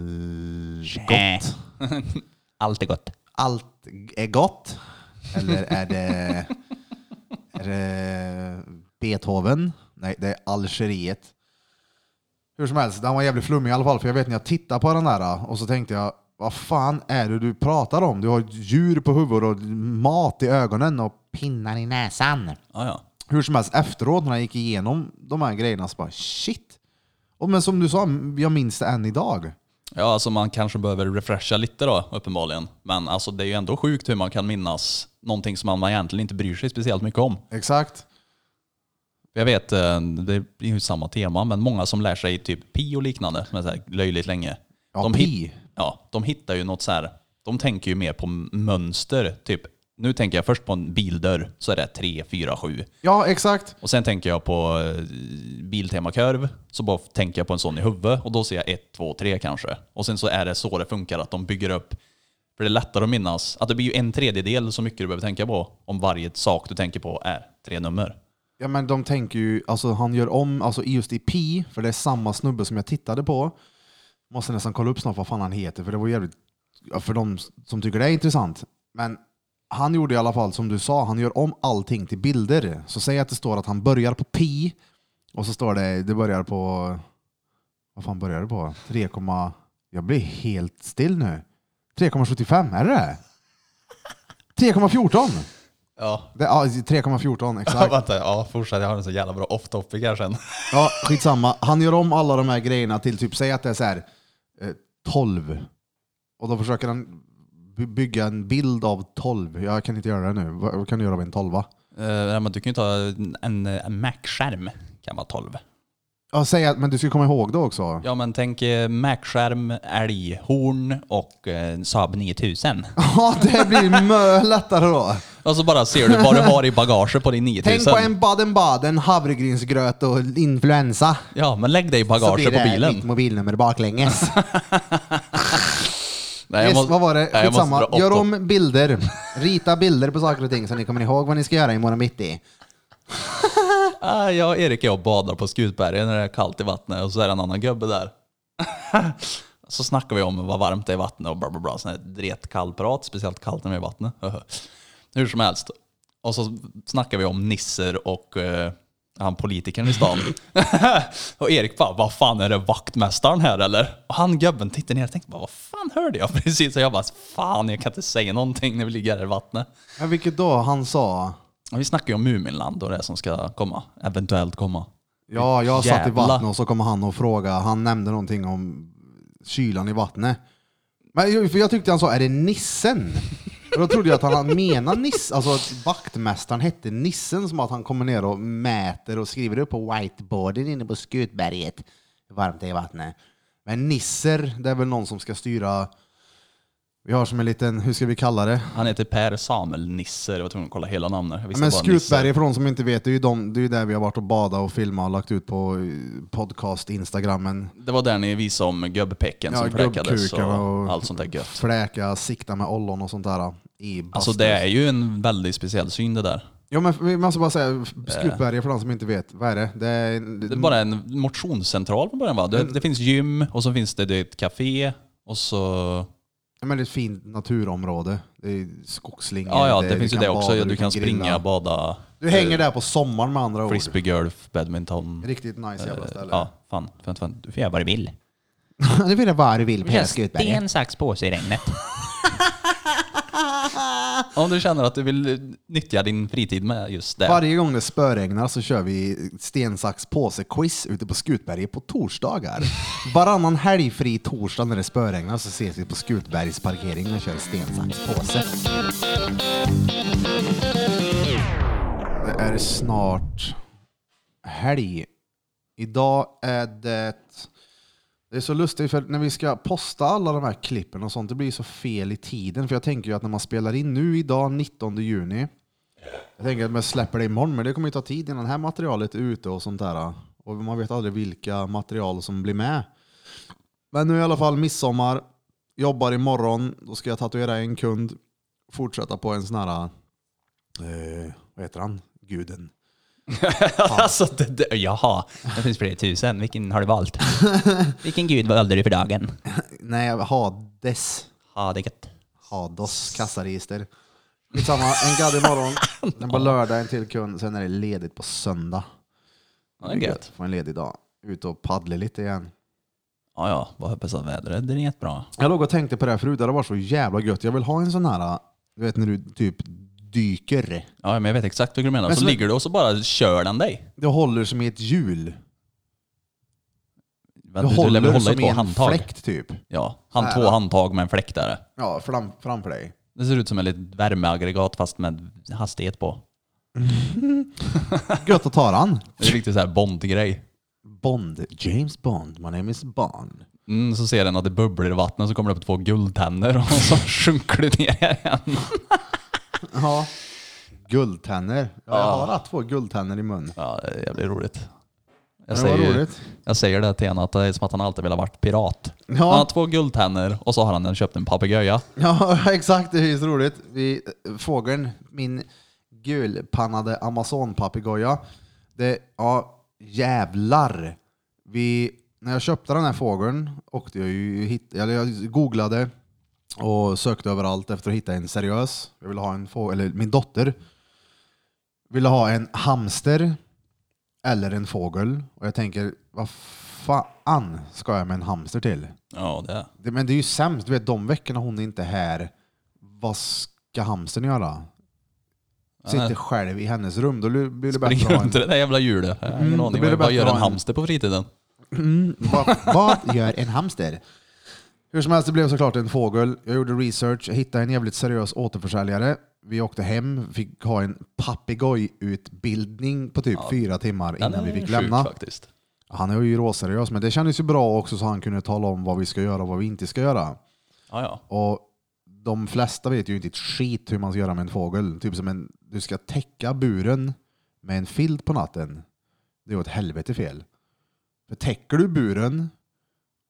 A: All...
B: Gott. Allt är gott.
A: Allt är gott? Eller är det... Är det Beethoven? Nej, det är Algeriet. Hur som helst, den var jävligt flummig i alla fall. För jag vet när jag tittade på den där och så tänkte jag, vad fan är det du pratar om? Du har djur på huvudet och mat i ögonen och pinnar i näsan.
B: Ja, ja.
A: Hur som helst, efteråt när jag gick igenom de här grejerna så bara shit. Och men som du sa, jag minns det än idag.
B: Ja, alltså man kanske behöver refresha lite då, uppenbarligen. Men alltså det är ju ändå sjukt hur man kan minnas någonting som man egentligen inte bryr sig speciellt mycket om.
A: Exakt.
B: Jag vet, eh, det är ju samma tema, men många som lär sig typ pi och liknande, som är så här löjligt länge.
A: Ja,
B: de
A: pi.
B: hit- ja, de hittar ju något så här, de tänker ju mer på m- mönster, typ. Nu tänker jag först på en bildörr, så är det 3, 4, 7.
A: Ja, exakt.
B: Och sen tänker jag på eh, Biltemakurv, så bara tänker jag på en sån i huvudet och då ser jag 1, 2, 3 kanske. Och sen så är det så det funkar, att de bygger upp, för det är lättare att minnas, att det blir ju en tredjedel så mycket du behöver tänka på om varje sak du tänker på är tre nummer.
A: Ja, men de tänker ju, alltså han gör om, alltså just i pi, för det är samma snubbe som jag tittade på. Måste nästan kolla upp snart vad fan han heter, för det var jävligt, ja, för de som tycker det är intressant. Men han gjorde i alla fall som du sa, han gör om allting till bilder. Så säg att det står att han börjar på pi, och så står det, det börjar på, vad fan börjar det på? 3, komma- jag blir helt still nu. 3,75, är det det 3,14!
B: Ja,
A: Det- Ja, 3,14
B: Ja,
A: exakt.
B: vänta, ja, fortsätt. Jag har en så jävla bra off-topic här sen.
A: Ja, skitsamma. Han gör om alla de här grejerna till typ, säg att det är så här, eh, 12. Och då försöker han by- bygga en bild av 12. Jag kan inte göra det nu. Vad vad kan du göra av en 12?
B: Eh, nej, men du kan ju ta en, en Mac-skärm. Kan vara 12.
A: Ja, säg att, men du ska komma ihåg det också.
B: Ja, men tänk eh, Mac-skärm, älghorn och eh, en Saab 9000.
A: Ja, det blir mö lättare då.
B: Och så Alltså, bara ser du vad du har i bagaget på din 9000.
A: Tänk på en Baden-Baden, havregrynsgröt och influensa.
B: Ja, men lägg det i
A: Så blir
B: bagaget på
A: det
B: bilen.
A: mitt mobilnummer baklänges.
B: Nej,
A: yes, vad var det?
B: nej, jag måste
A: Skitsamma.
B: dra
A: Gör
B: off-top-
A: om bilder. Rita bilder på saker och ting så ni kommer ihåg vad ni ska göra imorgon bitti.
B: Ah, jag och Erik och jag badar på Skutberget när det är kallt i vattnet och så är det en annan gubbe där. så snackar vi om vad varmt det är i vattnet och bla bla bla. Sån här dretkallprat, speciellt kallt när vi är i vattnet. Hur som helst. Och så snackar vi om nisser och eh, han politikern i stan. och Erik bara, vad fan är det vaktmästaren här eller? Och han gubben tittar ner och tänkte bara, vad fan hörde jag precis? Och jag bara, fan jag kan inte säga någonting när vi ligger här i vattnet.
A: Ja, vilket då? Han sa...
B: Och Vi snackar ju om Muminland och det som ska komma, eventuellt komma.
A: Ja, jag satt i
B: Jävla.
A: vattnet och så kommer han och frågade. Han nämnde någonting om kylan i vattnet. Men jag- för jag tyckte han sa, är det nissen? Och då trodde jag att han menade nissen, alltså att vaktmästaren hette nissen, som att han kommer ner och mäter och skriver upp på whiteboarden inne på Skutberget. Hur varmt det är i vattnet. Men nisser, det är väl någon som ska styra, vi har som en liten, hur ska vi kalla det?
B: Han heter Per Samuel Nisser, jag var tvungen att kolla hela namnet. Jag visste
A: Men
B: bara Nisser.
A: Skutberget, för de som inte vet, det är ju de, det är ju där vi har varit och badat och filmat och lagt ut på eh, podcast, instagrammen.
B: Det var där ni visade om gubbpecken som fläkades och,
A: gubbkukarna och
B: allt sånt där gött.
A: Fläka, sikta med ollon och sånt där. äh, I
B: Alltså det är ju en väldigt speciell syn det där.
A: Ja, men vi måste bara säga, Skutberget för de som inte vet, vad är det? Det är,
B: Eh. Det är bara en motionscentral från början va? Det,
A: Mm.
B: det finns gym och så finns det, det är ett café och så...
A: ja, men det är ett fint naturområde. Det är skogsslingor.
B: Ja, ja, det,
A: är-
B: finns ju
A: kan
B: det
A: bada,
B: också. Ja, du kan
A: grilla.
B: springa, bada,
A: Du hänger där på sommaren med andra ord.
B: frisbeegolf, badminton.
A: Riktigt nice jävla ställe.
B: Eh, Ja, fan. fan, fan. Du får göra vad du vill.
A: du vill göra vad du vill på hela Skutberget.
B: sten, sax, påse i regnet. Om du känner att du vill eh, nyttja din fritid med just det.
A: Varje gång det spöregnar så kör vi sten, sax, påse-quiz ute på Skutberget på torsdagar. Varannan helgfri torsdag när det spöregnar så ses vi på Skutbergs parkering och kör sten, sax, påse. Det är snart helg. Idag är det... Det är så lustigt för när vi ska posta alla de här klippen och sånt, det blir så fel i tiden. För jag tänker ju att när man spelar in nu idag, 19 juni, jag tänker att man släpper det imorgon, men det kommer ju ta tid innan det här materialet är ute och sånt där. Och man vet aldrig vilka material som blir med. Men nu i alla fall midsommar, jobbar imorgon, då ska jag tatuera en kund, fortsätta på en sån här, eh, vad heter han, guden?
B: alltså, det, det, jaha, det finns flera tusen. Vilken har du valt? Vilken gud valde du för dagen?
A: Nej, Hades.
B: Ja, det är gött.
A: Hados kassaregister. Skitsamma, en gadd imorgon, en på lördag, en till kund, sen är det ledigt på söndag.
B: Ja, det är gött.
A: Få en ledig dag. ut och paddla lite igen.
B: Ja, ja, bara hoppas att vädret är rätt bra.
A: Jag låg och tänkte på det här förut, det var så jävla gött. Jag vill ha en sån här, du vet när du typ dyker.
B: Ja, men jag vet exakt vad du menar.
A: Men
B: så,
A: så-
B: ligger du och så bara kör den dig.
A: Det håller som i ett hjul.
B: Men
A: Det
B: du, du
A: håller
B: lär väl hålla i
A: som i
B: två
A: en
B: handtag.
A: fläkt typ.
B: Ja, han,
A: Här,
B: två
A: ja.
B: handtag med en fläkt där.
A: Ja, fram, framför dig.
B: Det ser ut som ett litet värmeaggregat fast med hastighet på.
A: Gött att ta den.
B: Det är riktigt så här Bond-grej.
A: Bond. James Bond. My name is Bond.
B: Mm, så ser den att det bubblar i vattnet så kommer det upp två guldtänder och så sjunker det ner igen.
A: Ja. Guldtänder. Ja, jag har två guldtänder i mun.
B: Ja, det är jävligt roligt. Jag
A: Det var
B: säger, ju-
A: roligt.
B: jag säger det till henne att det är som att han alltid vill ha varit pirat.
A: Ja.
B: Han har två guldtänder och så har han köpt en papegoja.
A: Ja, exakt. Det är ju så roligt. Vi, fågeln, min gulpannade amazonpapegoja. Det, ja, jävlar. Vi, när jag köpte den här fågeln åkte jag ju hit, eller jag googlade och sökte överallt efter att hitta en seriös. Jag ville ha en fågel, eller min dotter ville ha en hamster eller en fågel. Och jag tänker, vad fan ska jag med en hamster till?
B: Ja, det.
A: Det, men det är ju sämst. Du vet, de veckorna hon inte är här, vad ska hamstern göra? Sitter själv i hennes rum. Då lu- blir det
B: Springer
A: bättre att ha
B: runt i
A: en...
B: det där jävla hjulet. Jag har
A: Mm,
B: ingen
A: då
B: aning
A: blir det
B: vad- vad
A: bättre
B: gör
A: att
B: en
A: ha en-
B: hamster på fritiden.
A: Mm, vad, vad gör en hamster? Hur som helst, det blev såklart en fågel. Jag gjorde research, jag hittade en jävligt seriös återförsäljare. Vi åkte hem, fick ha en papegojutbildning på typ fyra timmar
B: Den
A: innan vi
B: är
A: fick
B: sjuk
A: lämna.
B: faktiskt.
A: Han är ju råseriös, men det kändes ju bra också så han kunde tala om vad vi ska göra och vad vi inte ska göra.
B: Ja, ja.
A: Och de flesta vet ju inte ett skit hur man ska göra med en fågel. Typ som en, du ska täcka buren med en filt på natten. Det är åt helvete fel. För täcker du buren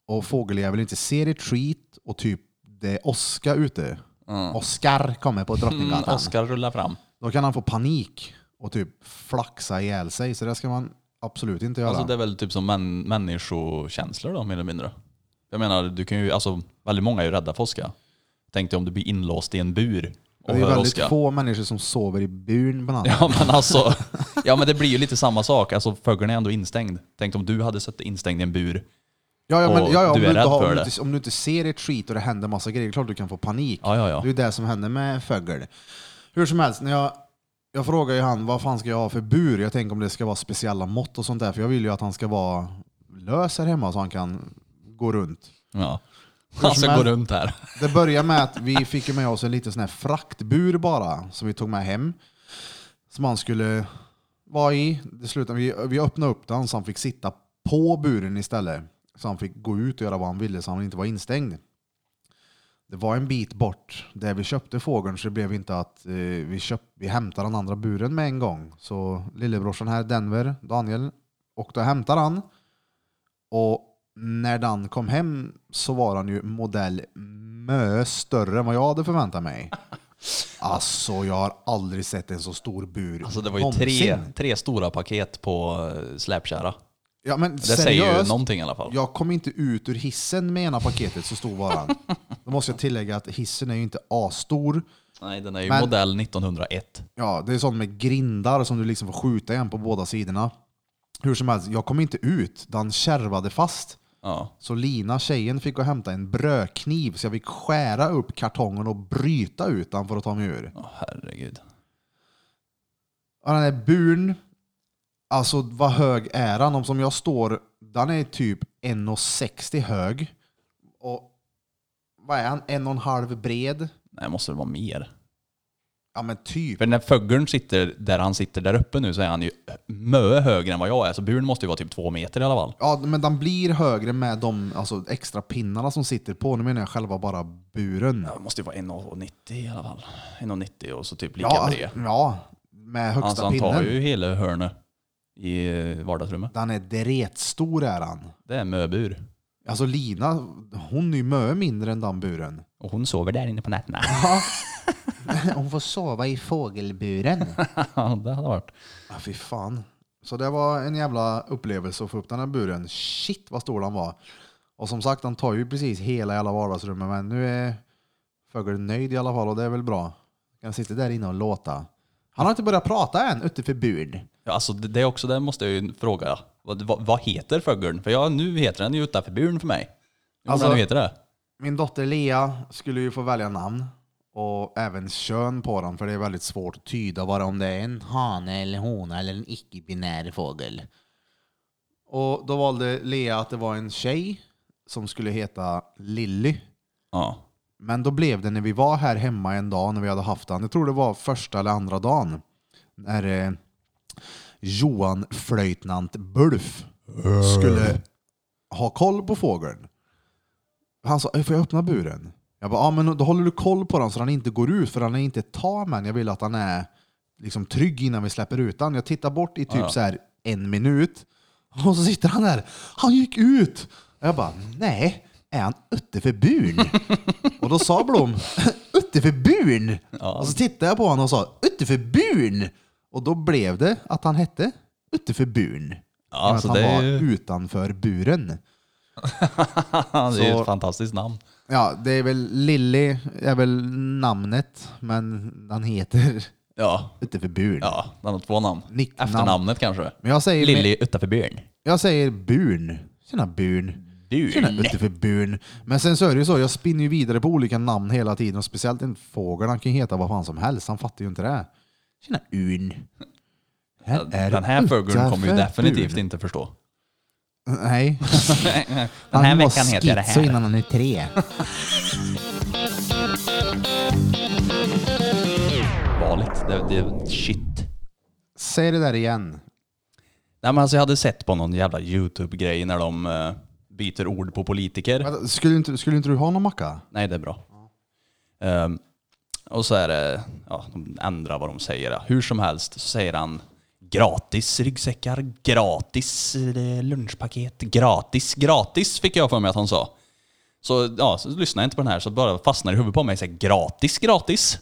A: och fågeljäveln inte ser ett skit och typ det är åska ute.
B: Mm.
A: Oskar kommer på
B: Mm,
A: Drottninggatan.
B: Oskar rullar fram.
A: Då kan han få panik och typ flaxa ihjäl sig. Så det ska man absolut inte göra.
B: Alltså det är väl typ som män, människokänslor då, mer eller mindre. Jag menar, du kan ju, alltså, väldigt många är ju rädda för oska. Tänk dig om du blir inlåst i en bur och
A: det är
B: hör
A: väldigt
B: oska.
A: få människor som sover i buren på natten.
B: Ja men alltså, ja men det blir ju lite samma sak. Alltså fågeln är ändå instängd. Tänk om du hade suttit instängd i en bur.
A: Ja, ja,
B: och
A: men, ja, ja, om,
B: du
A: du
B: är
A: inte
B: rädd
A: har, om,
B: för
A: du
B: det.
A: inte, om du inte ser ett skit och det händer massa grejer, klart du kan få panik.
B: Ja, ja, ja.
A: Det är ju det som händer med fågel. Hur som helst, när jag, jag frågar ju han vad fan ska jag ha för bur? Jag tänker om det ska vara speciella mått och sånt där, för jag vill ju att han ska vara lös här hemma så han kan gå runt.
B: Ja.
A: som
B: Han ska
A: helst.
B: gå runt här.
A: Det börjar med att vi fick ju med oss en liten sån här fraktbur bara, som vi tog med hem. Som han skulle vara i. Det slutade, vi, vi öppnade upp den så han fick sitta på buren istället. Så han fick gå ut och göra vad han ville så han inte var instängd. Det var en bit bort där vi köpte fågeln så det blev inte att eh, vi, köp, vi hämtade den andra buren med en gång. Så lillebrorsan här, Denver, Daniel, åkte och hämtade han. Och när Dan kom hem så var han ju modell mö större än vad jag hade förväntat mig. Alltså jag har aldrig sett en så stor bur
B: Alltså det var ju
A: någonsin.
B: tre, tre stora paket på eh, släpkärra.
A: Ja men
B: Det säger ju
A: seriöst,
B: någonting i alla fall.
A: jag kom inte ut ur hissen med ena paketet, så stor var han. Då måste jag tillägga att hissen är ju inte asstor.
B: Nej, den är ju
A: Men-
B: modell 1901.
A: Ja, det är sånt med grindar som du liksom får skjuta igen på båda sidorna. Hur som helst, jag kom inte ut. Den kärvade fast.
B: Ja.
A: Så Lina, tjejen, fick gå och hämta en brödkniv så jag fick skära upp kartongen och bryta ut den för att ta mig ur.
B: Åh, herregud.
A: Och den där buren, alltså vad hög är han? Om som jag står, den är typ 1,60 hög. Och vad är han? En och en halv bred?
B: Nej, måste det vara mer?
A: Ja men typ.
B: För när fågeln sitter där han sitter där uppe nu så är han ju mö högre än vad jag är. Så buren måste ju vara typ två meter i alla fall.
A: Ja men den blir högre med de alltså, extra pinnarna som sitter på. Nu menar jag själva bara buren.
B: Ja, Det måste ju vara 1,90 i alla fall. 1,90 och så typ lika
A: Ja, alltså,
B: bred.
A: ja med högsta
B: Alltså han tar
A: pinnen.
B: ju hela hörnet i eh, vardagsrummet.
A: Den är dretstor är han.
B: Det är möbur.
A: Alltså Lina, hon är ju mycket mindre än den buren.
B: Och hon sover där inne på nätterna.
A: Hon får sova i fågelburen.
B: Ja, det hade varit.
A: ah, fy fan. Så det var en jävla upplevelse att få upp den här buren. Shit vad stor den var. Och som sagt, han tar ju precis hela jävla vardagsrummet. Men nu är fågeln nöjd i alla fall och det är väl bra. Kan sitta där inne och låta. Han har inte börjat prata än utanför buren.
B: Ja, alltså det, det är också, det måste jag ju fråga. Vad, vad, vad heter fågeln? För jag, nu heter den ju utanför buren för mig. Alltså,
A: Alltså-
B: vad nu heter det?
A: Min dotter Lea skulle ju få välja namn och även kön på dem för det är väldigt svårt att tyda bara om det är en hane eller hona eller en icke-binär fågel. Och då valde Lea att det var en tjej som skulle heta Lilly.
B: Ja.
A: Men då blev det när vi var här hemma en dag när vi hade haft han, jag tror det var första eller andra dagen, när eh, Johan flöjtnant Bulf skulle ha koll på fågeln. Han sa, "Eh, får jag öppna buren? Jag bara, ja men då håller du koll på den så han inte går ut för han är inte tam än. Jag vill att han är liksom trygg innan vi släpper ut han. Jag tittar bort i typ så här en minut och så sitter han där. Han gick ut! Jag bara, nej, är han ute för buren? Och då sa Blom, utte för buren! Och så tittade jag på honom och sa, utte för buren! Och då blev det att han hette utte för buren. I och med
B: så
A: att
B: alltså, det
A: han
B: är
A: var
B: ju-
A: utanför buren.
B: det är ju
A: Så-
B: ett fantastiskt namn.
A: Ja, det är väl Lilly är väl namnet, men han heter
B: Ja.
A: utte för buren.
B: Ja, den har två namn.
A: Nicknamn.
B: Efternamnet kanske.
A: Men jag säger,
B: Lilly utanför buren.
A: jag säger buren. Tjena buren. Tjena
B: Buren.
A: utte för buren. Men sen så är det ju så, jag spinner ju vidare på olika namn hela tiden och speciellt en fågel, han kan ju heta vad fan som helst, han fattar ju inte det. Tjena urn. Här är
B: Den här fågeln kommer ju
A: utanför
B: definitivt
A: buren.
B: inte förstå.
A: Nej.
B: Den här
A: Han
B: veckan
A: var
B: heter jag det
A: schizo
B: här.
A: innan han är tre.
B: Valet. Det, det, shit.
A: Säg det där igen.
B: Nej men alltså jag hade sett på någon jävla YouTube-grej när de eh, byter ord på politiker.
A: Vänta, Skulle inte, skulle inte du ha någon macka?
B: Nej, det är bra. Ehm, och så är det, ja, de ändrar vad de säger. Hur som helst så säger han gratis ryggsäckar, gratis eh, lunchpaket, gratis, gratis fick jag för mig att han sa. Så, ja, så lyssnade jag inte på den här så bara fastnade i huvudet på mig och säger gratis, gratis.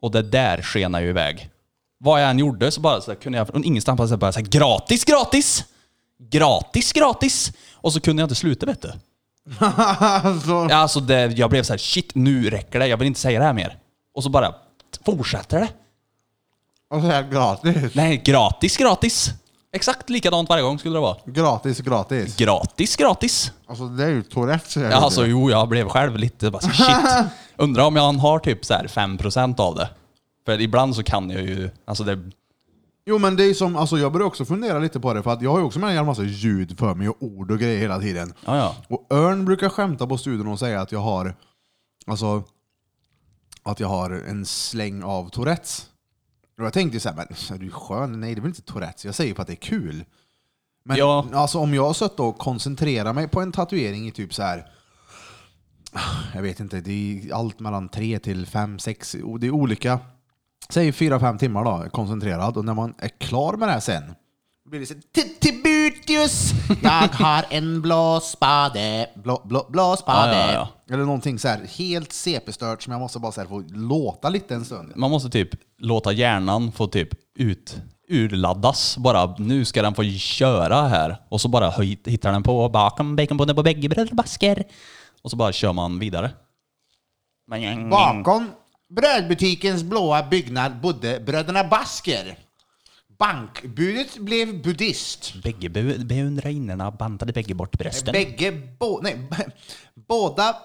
B: Och det där skenar ju iväg. Vad jag än gjorde så bara så där kunde jag från ingenstans bara så här bara säga gratis, gratis! Gratis, gratis! Och så kunde jag inte sluta vet du.
A: alltså,
B: Ja, Alltså det, jag blev så här: shit nu räcker det, jag vill inte säga det här mer. Och så bara fortsätter det.
A: och så här alltså, gratis.
B: Nej, gratis, gratis. Exakt likadant varje gång skulle det vara.
A: Gratis, gratis.
B: Gratis, gratis.
A: Alltså det är ju Tourettes. säger
B: Ja,
A: du.
B: alltså jo, jag blev själv lite bara så här, shit. Undrar om jag har typ så här 5% av det. För ibland så kan jag ju, alltså det,
A: Jo men det är som, alltså jag börjar också fundera lite på det för att jag har ju också med en jävla massa ljud för mig och ord och grejer hela tiden.
B: ja ja.
A: Och Örn brukar skämta på studion och säga att jag har, alltså, att jag har en släng av Tourettes. Och jag tänkte ju såhär, men är du skön? Nej det är väl inte Tourettes, jag säger ju för att det är kul. Men
B: Ja.
A: alltså om jag har suttit och koncentrerat mig på en tatuering i typ så här. jag vet inte, det är allt mellan tre till fem, sex, o- det är olika. Säg fyra fem timmar då, koncentrerad. Och när man är klar med det här sen, då blir det så här, "Ti- Tibutius, jag har en blåspade, blå, blå, blåspade.
B: Ja, ja, ja.
A: Eller någonting så här helt CP-stört som jag måste bara så här få låta lite en stund.
B: Man måste typ låta hjärnan få typ ut, urladdas. Bara nu ska den få köra här. Och så bara höj- hittar den på bakom baconbonde på bägge brödbasker. Och så bara kör man vidare.
A: Bakom brödbutikens blåa byggnad bodde bröderna Basker. Bankbudet blev buddhist.
B: Bägge be- beundrarinnorna bantade bägge bort brösten.
A: Bägge, bo, nej, b- båda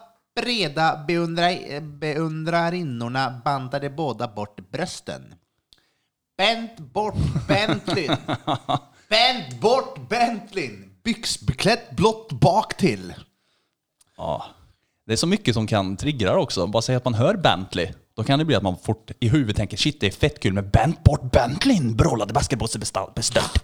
A: breda beundra, beundrarinnorna bantade båda bort brösten. Bänt bort Bentlin. Bänt bort Bentlin. Byxbeklätt blått bak till.
B: ja. Det är så mycket som kan triggra det också. Bara säga att man hör Bentley. Då kan det bli att man fort i huvudet tänker shit det är fett kul med bent bort Bentley. Brålade basketbosse besta- bestört.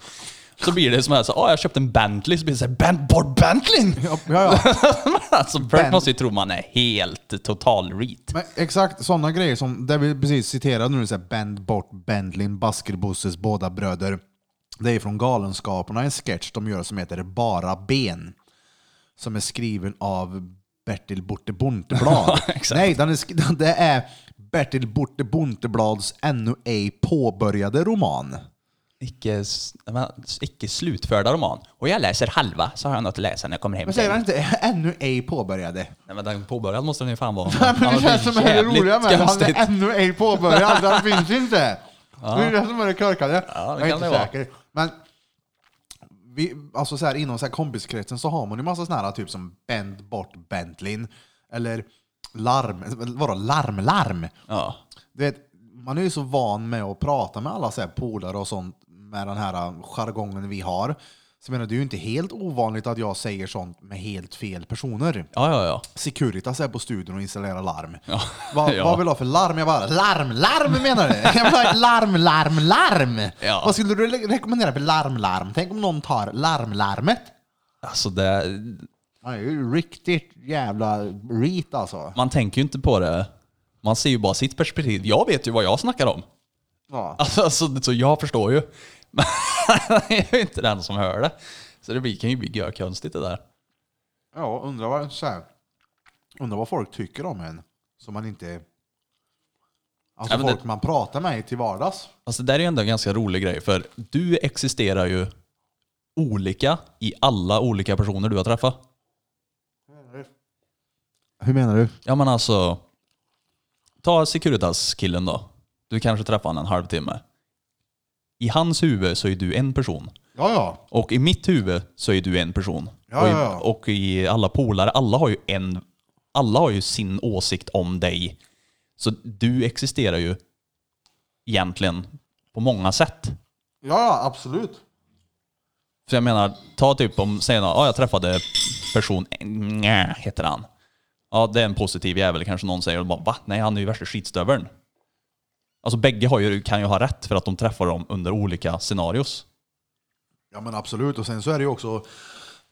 B: Så blir det som här, så, ah, jag köpte en Bentley, så blir det såhär, bent bort Bentley!
A: Ja, ja, ja.
B: alltså Bert
A: Ben-
B: måste ju tro man är helt total reet.
A: Men exakt sådana grejer som det vi precis citerade nu, så här, bänd bort Bentlin, Baskerbosses båda bröder. Det är från Galenskaparna, en sketch de gör som heter Bara ben. Som är skriven av Bertil Borte Bonteblad.
B: Exakt.
A: Nej, den är, sk- den- det är Bertil Borte Bonteblads ännu ej påbörjade roman.
B: Icke, s- men, icke slutförda roman. Och jag läser halva, så har jag något att läsa när jag kommer hem.
A: Men säger han inte ännu ej påbörjade?
B: Nej men den påbörjad måste den ju fan vara.
A: Ja, men det
B: Annars
A: känns
B: blir
A: som det är det
B: jävligt
A: roliga med det. Han
B: konstigt.
A: är ännu ej påbörjad. Den finns inte. Det är det som är det korkade.
B: Ja, det
A: jag är
B: kan
A: inte
B: det vara.
A: säker. Men vi, alltså så här, inom så här kompiskretsen så har man ju massa såna här typ som bänd bort Bentleyn. Eller larm, vadå larm, larm?
B: Ja.
A: Du vet, man är ju så van med att prata med alla så här polare och sånt med den här äh, jargongen vi har. Så jag menar, det är ju inte helt ovanligt att jag säger sånt med helt fel personer.
B: Ja, ja, ja.
A: Securitas är på studion och installerar larm.
B: Ja.
A: Vad,
B: Ja.
A: vad vill du ha för larm? Jag bara, larm, larm menar du? Jag vill ha ett larm, larm, larm!
B: Ja.
A: Vad skulle du re- rekommendera för larm, larm? Tänk om någon tar larmlarmet?
B: Alltså det,
A: Det är ju riktigt jävla reet alltså.
B: man tänker ju inte på det. Man ser ju bara sitt perspektiv. Jag vet ju vad jag snackar om.
A: Ja.
B: Alltså, alltså så jag förstår ju. Men jag är ju inte den som hör det. Så det blir, kan ju bli görkonstigt det där.
A: Ja, undrar vad, så här, undrar vad folk tycker om en som man inte... Alltså
B: Ja, men det-
A: folk man pratar med till vardags.
B: Fast Alltså, det där är ju ändå en ganska rolig grej, för du existerar ju olika i alla olika personer du har träffat.
A: Hur menar du?
B: Ja men alltså, ta Securitas-killen då. Du kanske träffar honom en halvtimme. I hans huvud så är du en person.
A: Ja, ja.
B: Och i mitt huvud så är du en person.
A: Ja,
B: och, i,
A: ja, ja.
B: och i alla polare, alla har ju en, alla har ju sin åsikt om dig. Så du existerar ju egentligen på många sätt.
A: Ja, ja, absolut.
B: För jag menar, ta typ om, säg någon, ja jag träffade person, nja, heter han. Ja det är en positiv jävel kanske någon säger och bara va? Nej han är ju värsta skitstövern. Alltså bägge har ju, kan ju ha rätt för att de träffar dem under olika scenarios.
A: Ja men absolut, och sen så är det ju också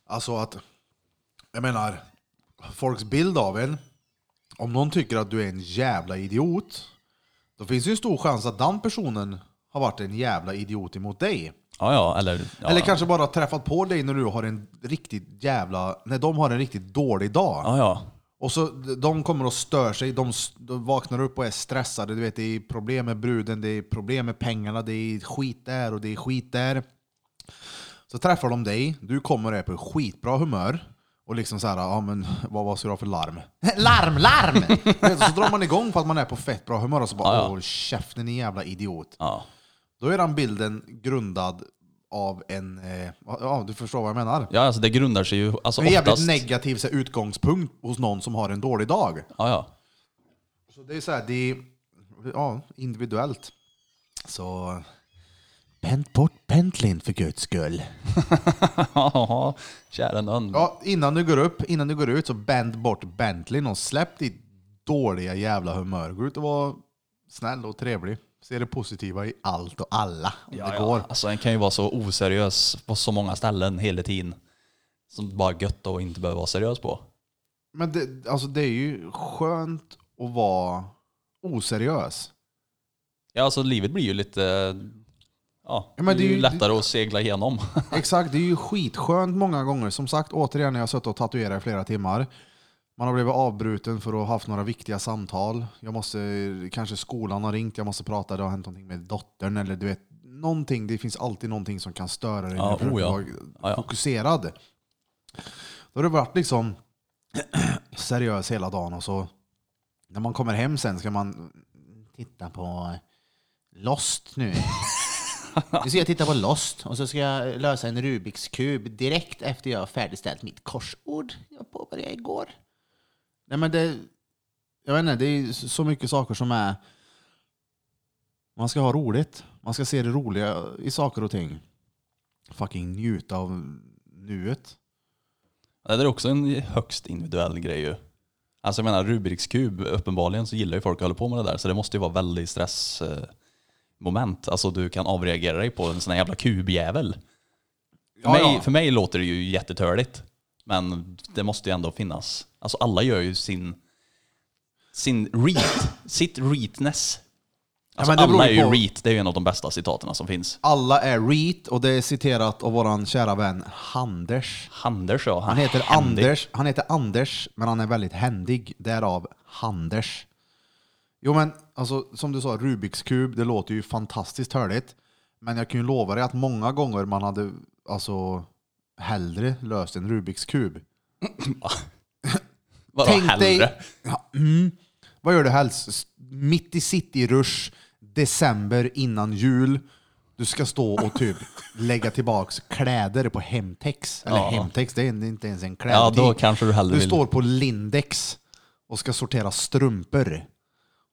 A: alltså att jag menar, folks bild av en, om någon tycker att du är en jävla idiot, då finns det ju en stor chans att den personen har varit en jävla idiot emot dig.
B: Ja ja, eller... Ja,
A: Eller
B: ja.
A: kanske bara träffat på dig när du har en riktigt jävla, när de har en riktigt dålig dag.
B: Ja ja.
A: Och så de kommer och stör sig, de, s- de vaknar upp och är stressade. Du vet, det är problem med bruden, det är problem med pengarna, det är skit där och det är skit där. Så träffar de dig, du kommer och är på skitbra humör. Och liksom så här, ja men vad, vad ska du ha för larm? larm, larm! Du vet, så drar man igång för att man är på fett bra humör och så bara,
B: Ja, ja.
A: åh käften ni jävla idiot.
B: ja.
A: Då är den bilden grundad av en, eh, ja du förstår vad jag menar.
B: Ja, alltså det grundar sig ju alltså
A: En jävligt
B: oftast...
A: negativ så här, utgångspunkt hos någon som har en dålig dag.
B: ja, ja.
A: Så det är så här, det är ja, individuellt. Så... Bänt bort Bentlin för guds skull.
B: ja, kära nån.
A: Ja, innan du går upp, innan du går ut så bänd bort Bentlin och släpp ditt dåliga jävla humör. Gå ut och var snäll och trevlig. Se det positiva i allt och alla om det går.
B: Alltså en kan ju vara så oseriös på så många ställen hela tiden. Som bara är gött och inte behöver vara seriös på.
A: Men det, alltså det är ju skönt att vara oseriös.
B: Ja, alltså livet blir ju lite... Ja,
A: Ja, men
B: det,
A: det
B: är
A: är
B: ju
A: ju-
B: lättare att segla igenom.
A: Exakt, det är ju skitskönt många gånger. Som sagt, återigen, jag har suttit och tatuerat i flera timmar. Man har blivit avbruten för att ha haft några viktiga samtal. Jag måste, kanske skolan har ringt, jag måste prata, det har hänt någonting med dottern eller du vet, någonting. Det finns alltid någonting som kan störa dig
B: Ja,
A: när du
B: oh ja.
A: försöker
B: Ja, ja.
A: vara fokuserad. Då har det varit liksom seriös hela dagen och så när man kommer hem sen ska man titta på Lost nu. Nu ska jag titta på Lost och så ska jag lösa en Rubiks kub direkt efter jag har färdigställt mitt korsord jag påbörjade igår. Nej men det... Jag vet inte, det är så mycket saker som är... Man ska ha roligt. Man ska se det roliga i saker och ting. Fucking njuta av nuet.
B: Det där är också en högst individuell grej ju. Alltså jag menar Rubiks kub, uppenbarligen så gillar ju folk att hålla på med det där. Så det måste ju vara väldigt stressmoment. Alltså du kan avreagera dig på en sån här jävla kubjävel. För,
A: Ja,
B: mig,
A: ja.
B: för mig låter det ju jättetörligt. Men det måste ju ändå finnas. Alltså alla gör ju sin, sin reat, sitt reatness. Alltså
A: men det beror
B: alla är
A: ju
B: ju
A: på-
B: reat, det är ju en av de bästa citaten som finns.
A: Alla är reet och det är citerat av våran kära vän Handers.
B: Handers ja,
A: Han heter
B: Handy.
A: Anders, han heter Anders, men han är väldigt händig. Därav Handers. Jo men, alltså, som du sa, Rubiks kub, det låter ju fantastiskt hörligt. Men jag kan ju lova dig att många gånger man hade alltså, hellre löst en Rubiks kub.
B: Vadå
A: Tänk dig-
B: hellre?
A: Ja, mm. Vad gör du helst? S- Mitt i city rush, december innan jul. Du ska stå och typ lägga tillbaks kläder på Hemtex. Eller
B: Ja.
A: Hemtex, det är inte ens en
B: Ja,
A: klädbutik.
B: då kanske du hellre
A: Du
B: vill...
A: står på Lindex och ska sortera strumpor.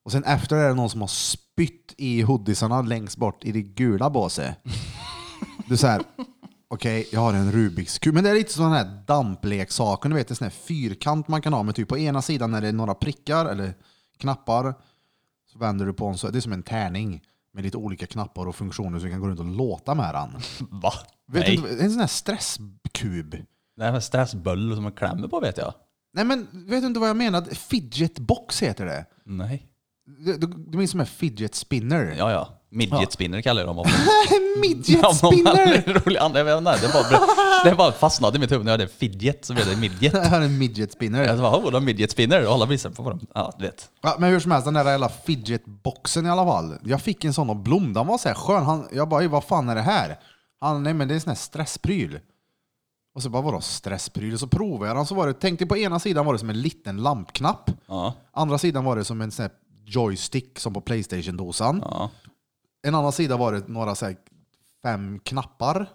A: Och sen efter är det någon som har spytt i hoodiesarna längst bort i det gula båset. Du säger, okej, jag har en Rubiks kub. Men det är lite sån här dampleksaken, du vet, en sån här fyrkant man kan ha med typ på ena sidan är det några prickar eller knappar. Så vänder du på den så det är som en tärning med lite olika knappar och funktioner så du kan gå runt och låta med den.
B: Va?
A: Vet
B: Nej.
A: inte, en sån här stresskub.
B: Det här med stressböll som man klämmer på vet jag.
A: Nej men, vet du inte vad jag menar? Fidget box heter det.
B: Nej.
A: Du, du, du minns som en fidget spinner?
B: Ja, ja. Midget spinner kallar jag dem ofta.
A: midget spinner!
B: Roliga andra, jag vet inte, det, bara, det bara fastnade i mitt huvud när jag hade fidget så blev det midget.
A: Det här är en midget spinner.
B: Jag bara, oh, de har midget spinner och alla visar på dem. Ja, du vet.
A: Ja, men hur som helst, den där jävla fidget-boxen i alla fall. Jag fick en sån av Blom, den var så här skön. Han, jag bara, "Ey, vad fan är det här? Han, nej men det är en sån här stresspryl. Och så bara, vadå stresspryl? Och så provade jag den, så var det, tänkte på ena sidan var det som en liten lampknapp.
B: Ja,
A: Andra sidan var det som en sån här joystick som på Playstation-dosan.
B: ja.
A: En annan sida var det några så här fem knappar.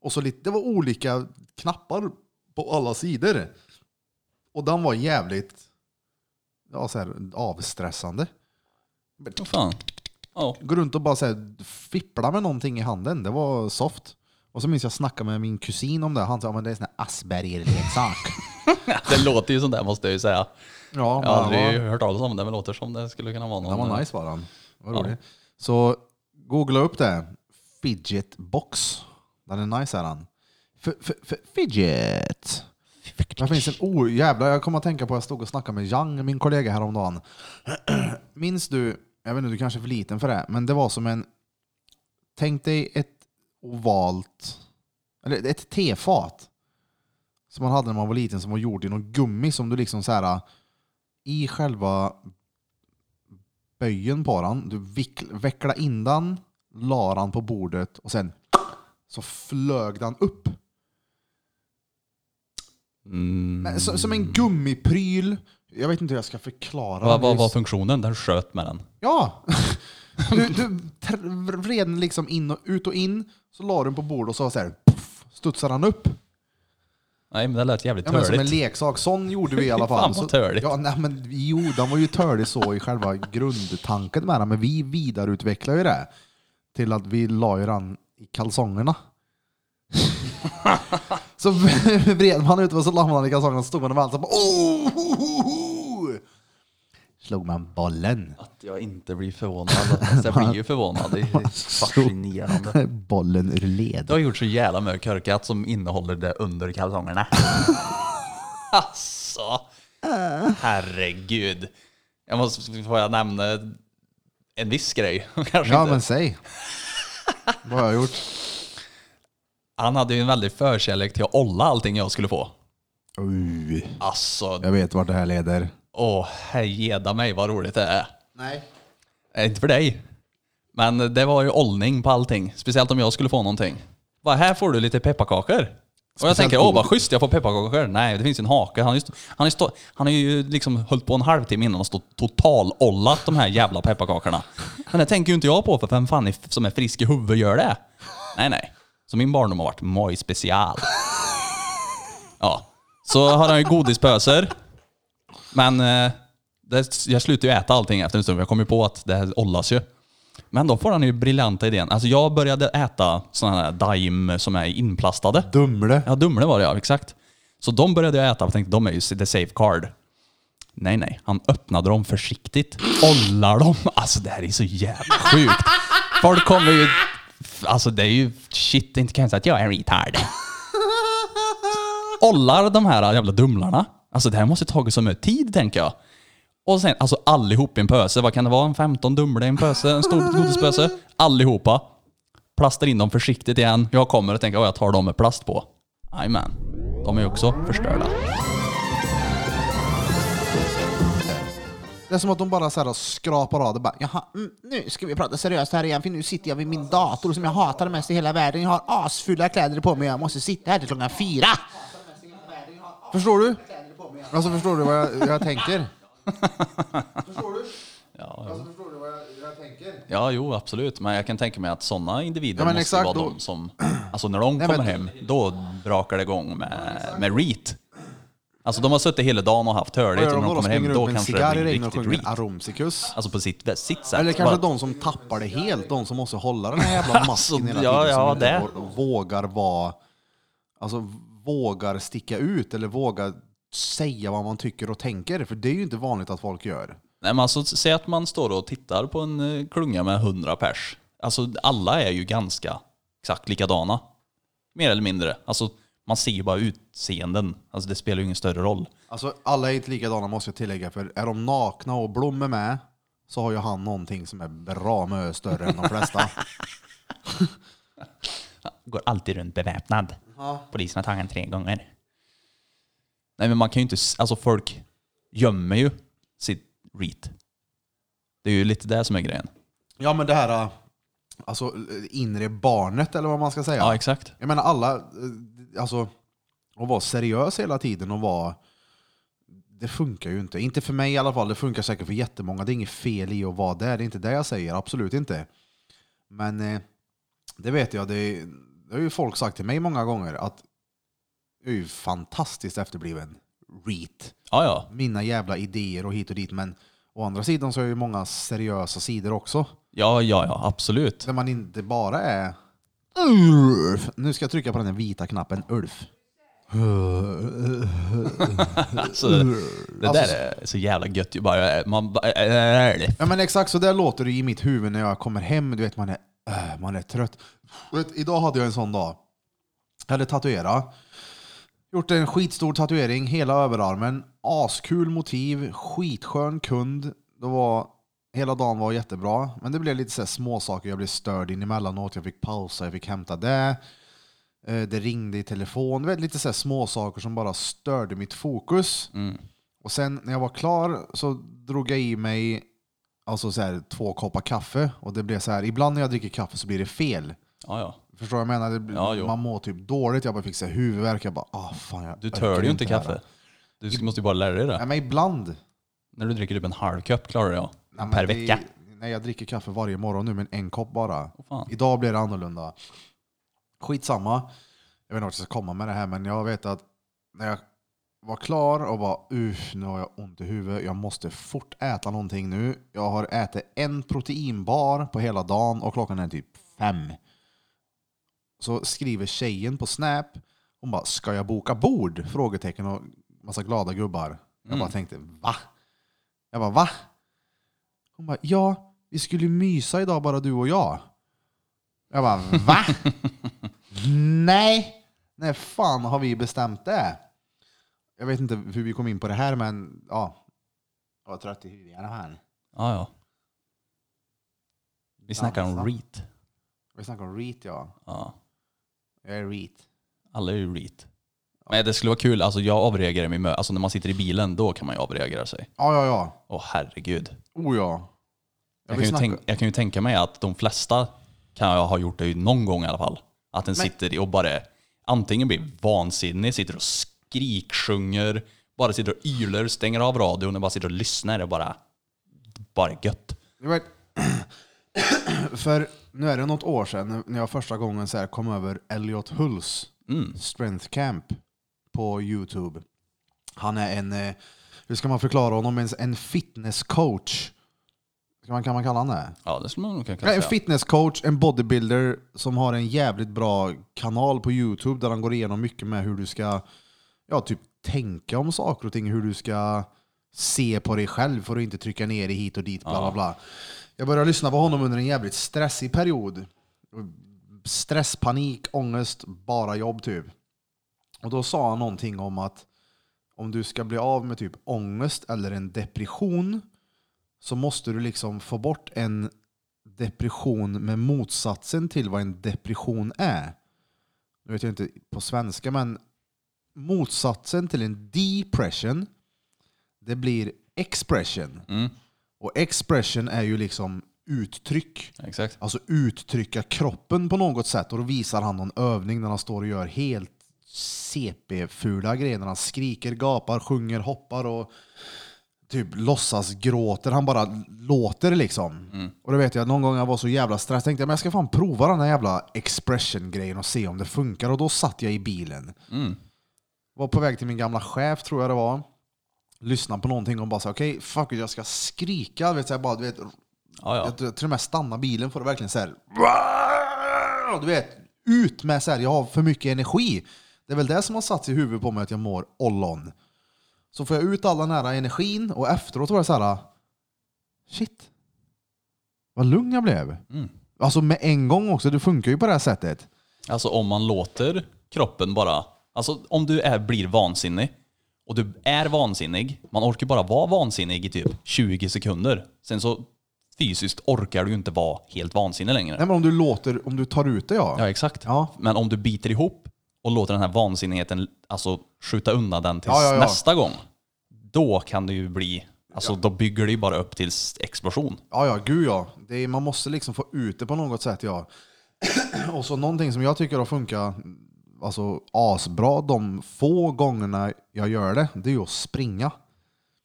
A: Och så lite, det var olika knappar på alla sidor. Och den var jävligt ja, så här, avstressande.
B: Vad fan. Ja.
A: Gå runt och bara så här, fippla med någonting i handen. Det var soft. Och så minns jag snacka med min kusin om det. Han sa att det är en sån här Asperger-leksak.
B: Det låter ju sånt där måste jag ju säga.
A: ja,
B: Jag
A: men
B: har
A: den
B: aldrig
A: var,
B: hört talas om det men låter som det skulle kunna vara någon. eh,
A: den var nice var den. Vad
B: Ja.
A: rolig. Så googla upp det. Fidget box. Den är nice är den. F- f- f- fidget. Det finns en oh, jävla, jag kommer att tänka på, jag stod och snackade med Yang, min kollega häromdagen. Minns du, jag vet inte, du kanske är för liten för det, men det var som en, tänk dig ett ovalt, eller ett tefat som man hade när man var liten som var gjort i någon gummi som du liksom så här i själva böjen på den, du vickl- veckla in den, la den på bordet och sen så flög den upp.
B: Mm.
A: Men, så, som en gummipryl. Jag vet inte hur jag ska förklara.
B: Vad vad
A: det.
B: var funktionen? Den sköt med den.
A: Ja! Du, du tr- vred den liksom in och ut och in, så la du den på bordet och så, så här, puff, studsade den upp.
B: Nej men det lät jävligt
A: Ja, men som en
B: törligt.
A: leksak. Sån gjorde vi i alla fall.
B: Fan, vad törligt.
A: Så, ja, nej, men, jo, den var ju törlig så i själva grundtanken med den, men vi vidareutvecklade ju det till att vi la ju den i kalsongerna. så vred man ut och så la man den i kalsongerna och så stod man och valsade. Oh, ho, ho, ho. Slog man bollen.
B: Att jag inte blir förvånad. Alltså, jag blir ju förvånad. Det är fascinerande.
A: bollen ur led.
B: Du har gjort så jävla mycket körkat som innehåller det under kalsongerna. alltså, herregud. Jag måste, får jag nämna en viss grej? Kanske
A: Ja,
B: inte.
A: men säg. Vad har jag gjort?
B: Han hade ju en väldig förkärlek till att olla allting jag skulle få.
A: Oj,
B: Alltså,
A: jag vet vart det här leder.
B: åh herregeda mig vad roligt det är.
A: Nej.
B: Eh, Inte för dig. Men det var ju ollning på allting. Speciellt om jag skulle få någonting. Bara, här får du lite pepparkakor. Och jag
A: Speciellt
B: tänker, åh
A: god.
B: vad schysst, jag får pepparkakor. Nej, det finns ju en hake. Han har ju, stå, han har ju, stå, han har ju liksom hållit på en halvtimme innan och stått total-ollat de här jävla pepparkakorna. Men det tänker ju inte jag på, för vem fan är, f- som är frisk i huvudet gör det? Nej, nej. Så min barndom har varit moj special. Ja. Så har han ju godispöser. Men eh, det, jag slutar ju äta allting efter en stund. för Jag kom ju på att det här ollas ju. Men då får han ju briljanta idén. Alltså jag började äta sådana här daim som är inplastade.
A: Dumle.
B: Ja, Dumle var det ja, exakt. Så de började jag äta och tänkte de är ju the safe card. Nej, nej. Han öppnade dem försiktigt. Ollar dem. Alltså det här är så jävla sjukt. Folk kommer ju... Alltså det är ju... Shit, inte kan jag säga att jag är en retard. Ollar de här jävla Dumlarna. Alltså det här måste tagit så mycket tid tänker jag. Och sen alltså allihop i en pöse. Vad kan det vara? En 15 Dumle i en pöse? En stor godispöse? Allihopa. Plastar in dem försiktigt igen. Jag kommer och tänker att jag tar dem med plast på. Jajamän. De är ju också förstörda.
A: Det är som att de bara så här skrapar av det. Bara, Jaha, mm, nu ska vi prata seriöst här igen för nu sitter jag vid min dator som jag hatar mest i hela världen. Jag har asfulla kläder på mig och jag måste sitta här till klockan fyra. Förstår du? Alltså förstår du vad jag, jag tänker? Alltså,
B: Ja,
A: Förstår du vad jag, tänker?
B: Ja, jo absolut. Men jag kan tänka mig att sådana individer
A: Ja, men
B: måste
A: exakt,
B: vara
A: då-
B: de som... Alltså när de
A: Nej,
B: kommer
A: men-
B: hem, då brakar det igång med, med reet. Alltså de har suttit hela dagen och haft
A: Vad
B: hörligt
A: gör de
B: och när
A: då?
B: de
A: De
B: kommer hem
A: springer
B: då
A: runt med en cigarr
B: kanske det
A: i
B: blir
A: regnet och
B: riktigt
A: sjunger
B: reet.
A: Aromsicus.
B: Alltså på sitt, sitt sätt.
A: Eller
B: Bara-
A: kanske de som tappar det helt, de som måste hålla den här jävla
B: Alltså,
A: masken hela
B: ja,
A: tiden. som
B: ja,
A: inte
B: det.
A: vå- Vågar vara... Alltså vågar sticka ut eller vågar säga vad man tycker och tänker. För det är ju inte vanligt att folk gör.
B: Nej, men alltså, säg att man står och tittar på en eh, klunga med 100 pers. Alltså, alla är ju ganska exakt likadana. Mer eller mindre. Alltså, man ser ju bara utseenden. Alltså, det spelar ju ingen större roll.
A: Alltså alla är inte likadana måste jag tillägga, för är de nakna och blommor med så har ju han någonting som är bra mycket större än de flesta.
B: Går alltid runt beväpnad. Polisen har tagit en tre gånger. Nej, men man kan ju inte... s- Alltså, folk gömmer ju sitt reet. Det är ju lite det som är grejen.
A: Ja men det här, äh, alltså inre barnet eller vad man ska säga.
B: Ja, exakt.
A: Jag menar alla, eh, alltså att vara seriös hela tiden och vara, det funkar ju inte. Inte för mig i alla fall, det funkar säkert för jättemånga. Det är inget fel i att vara där, det är inte det jag säger, absolut inte. Men eh, det vet jag, det, det har ju folk sagt till mig många gånger att jag är ju fantastiskt efterbliven. Reet.
B: Ja, ja.
A: Mina jävla idéer och hit och dit, men å andra sidan så är ju många seriösa sidor också.
B: Ja, ja, ja. Absolut.
A: Där man inte bara är... Ulf. Nu ska jag trycka på den här vita knappen, Ulf.
B: Alltså, det
A: Alltså,
B: där är så jävla gött. ju. Bara, man, bara, äh,
A: Ja men exakt så där låter det i mitt huvud när jag kommer hem. Du vet man är, äh, man är trött. Du Vet, idag hade jag en sån dag. Jag hade tatuerat. Gjort en skitstor tatuering, hela överarmen. Askul motiv, skitskön kund. Det var, hela dagen var jättebra. Men det blev lite så här småsaker. Jag blev störd in emellanåt. Jag fick pausa, jag fick hämta det. Eh, Det ringde i telefon. Du vet, Lite så här småsaker som bara störde mitt fokus. Och sen när jag var klar så drog jag i mig alltså så här, två koppar kaffe. Och det blev så här, ibland när jag dricker kaffe så blir det fel.
B: Ja, ja.
A: Förstår du vad jag menar? Det, blir-
B: Ja, jo.
A: man mår typ dåligt. Jag bara fick så här huvudvärk. Jag bara, ah fan jag
B: Du
A: orkar
B: tör ju inte
A: det här.
B: kaffe. Du ska- måste ju bara lära dig
A: Nej
B: det.
A: men ibland.
B: När du dricker typ en halv kopp klarar jag.
A: Nej, men
B: Per
A: det-
B: vecka.
A: Nej, jag dricker kaffe varje morgon nu, men en kopp bara.
B: Åh, fan.
A: Idag blir det annorlunda. Skitsamma. Jag vet inte vart jag ska komma med det här, men jag vet att när jag var klar och bara uff, nu har jag ont i huvudet. Jag måste fort äta någonting nu. Jag har ätit en proteinbar på hela dagen och klockan är typ fem. Så skriver tjejen på Snap. Hon bara, ska jag boka bord? Frågetecken och massa glada gubbar. Jag bara tänkte, va? Jag bara, va? Hon bara, ja, vi skulle mysa idag bara du och jag. Jag bara, va? Nej! När fan har vi bestämt det? Jag vet inte hur vi kom in på det här, men ja. Jag var trött i huvudet i alla fall.
B: Ja, ja. Vi snackar om reet.
A: Vi snackade om REIT, ja.
B: Ja.
A: Jag är REIT.
B: Alla är ju reet. Men det skulle vara kul. Alltså jag avreagerar mig med, alltså när man sitter i bilen, då kan man ju avreagera sig.
A: Ja, ja, ja.
B: Åh herregud.
A: Oh ja.
B: Jag
A: vill
B: kan, ju
A: snacka-
B: tänk, jag kan ju tänka mig att de flesta kan jag ha gjort det ju någon gång i alla fall. Att den sitter och bara antingen blir vansinnig, sitter och skriksjunger, bara sitter och ylar, stänger av radion och bara sitter och lyssnar. och bara, bara gött.
A: Det var- För nu är det något år sedan när jag första gången så här kom över Elliot Hulls Strength Camp på Youtube. Han är en, eh, hur ska man förklara honom, en, en fitnesscoach. Kan man, kan man kalla honom det?
B: Ja, det skulle man nog kunna
A: Nej, en
B: säga.
A: fitnesscoach, en bodybuilder som har en jävligt bra kanal på Youtube där han går igenom mycket med hur du ska ja, typ tänka om saker och ting, hur du ska se på dig själv för att inte trycka ner dig hit och dit, bla bla bla. Jag började lyssna på honom under en jävligt stressig period. Stress, panik, ångest, bara jobb typ. Och då sa han någonting om att om du ska bli av med typ ångest eller en depression så måste du liksom få bort en depression med motsatsen till vad en depression är. Nu vet jag inte på svenska, men motsatsen till en depression det blir expression. Och expression är ju liksom uttryck.
B: Exakt.
A: Alltså uttrycka kroppen på något sätt. Och då visar han någon övning när han står och gör helt CP-fula grejer. När han skriker, gapar, sjunger, hoppar och typ låtsas gråter. Han bara låter liksom. Och det vet jag, någon gång jag var så jävla stressad. Tänkte jag, men jag ska fan prova den här jävla expression-grejen och se om det funkar. Och då satt jag i bilen. Var på väg till min gamla chef, tror jag det var. Lyssnade på någonting och bara sa okej, fuck it, jag ska skrika. Du Vet, så här, bara, du vet,
B: Ja, ja.
A: jag tror- till och med stanna bilen får det verkligen så här. Du vet, ut med så här, jag har för mycket energi. Det är väl det som har satt i huvudet på mig att jag mår ollon. Så får jag ut all den här energin och efteråt var det så här. Shit. Vad lugn jag blev. Alltså med en gång också, det funkar ju på det här sättet.
B: Alltså om man låter kroppen bara... Alltså om du är, blir vansinnig och du är vansinnig, man orkar bara vara vansinnig i typ 20 sekunder. Sen så fysiskt orkar du ju inte vara helt vansinnig längre.
A: Nej men om du låter, om du tar ut det ja.
B: Ja, exakt.
A: Ja.
B: Men om du biter ihop och låter den här vansinnigheten alltså, skjuta undan den tills
A: Ja, ja, ja.
B: nästa gång, då kan det ju bli... Alltså då bygger det ju bara upp till explosion.
A: Ja, ja, gud ja. Det är, man måste liksom få ut det på något sätt, ja. Och så någonting som jag tycker har funkat alltså, asbra de få gångerna jag gör det, det är ju att springa.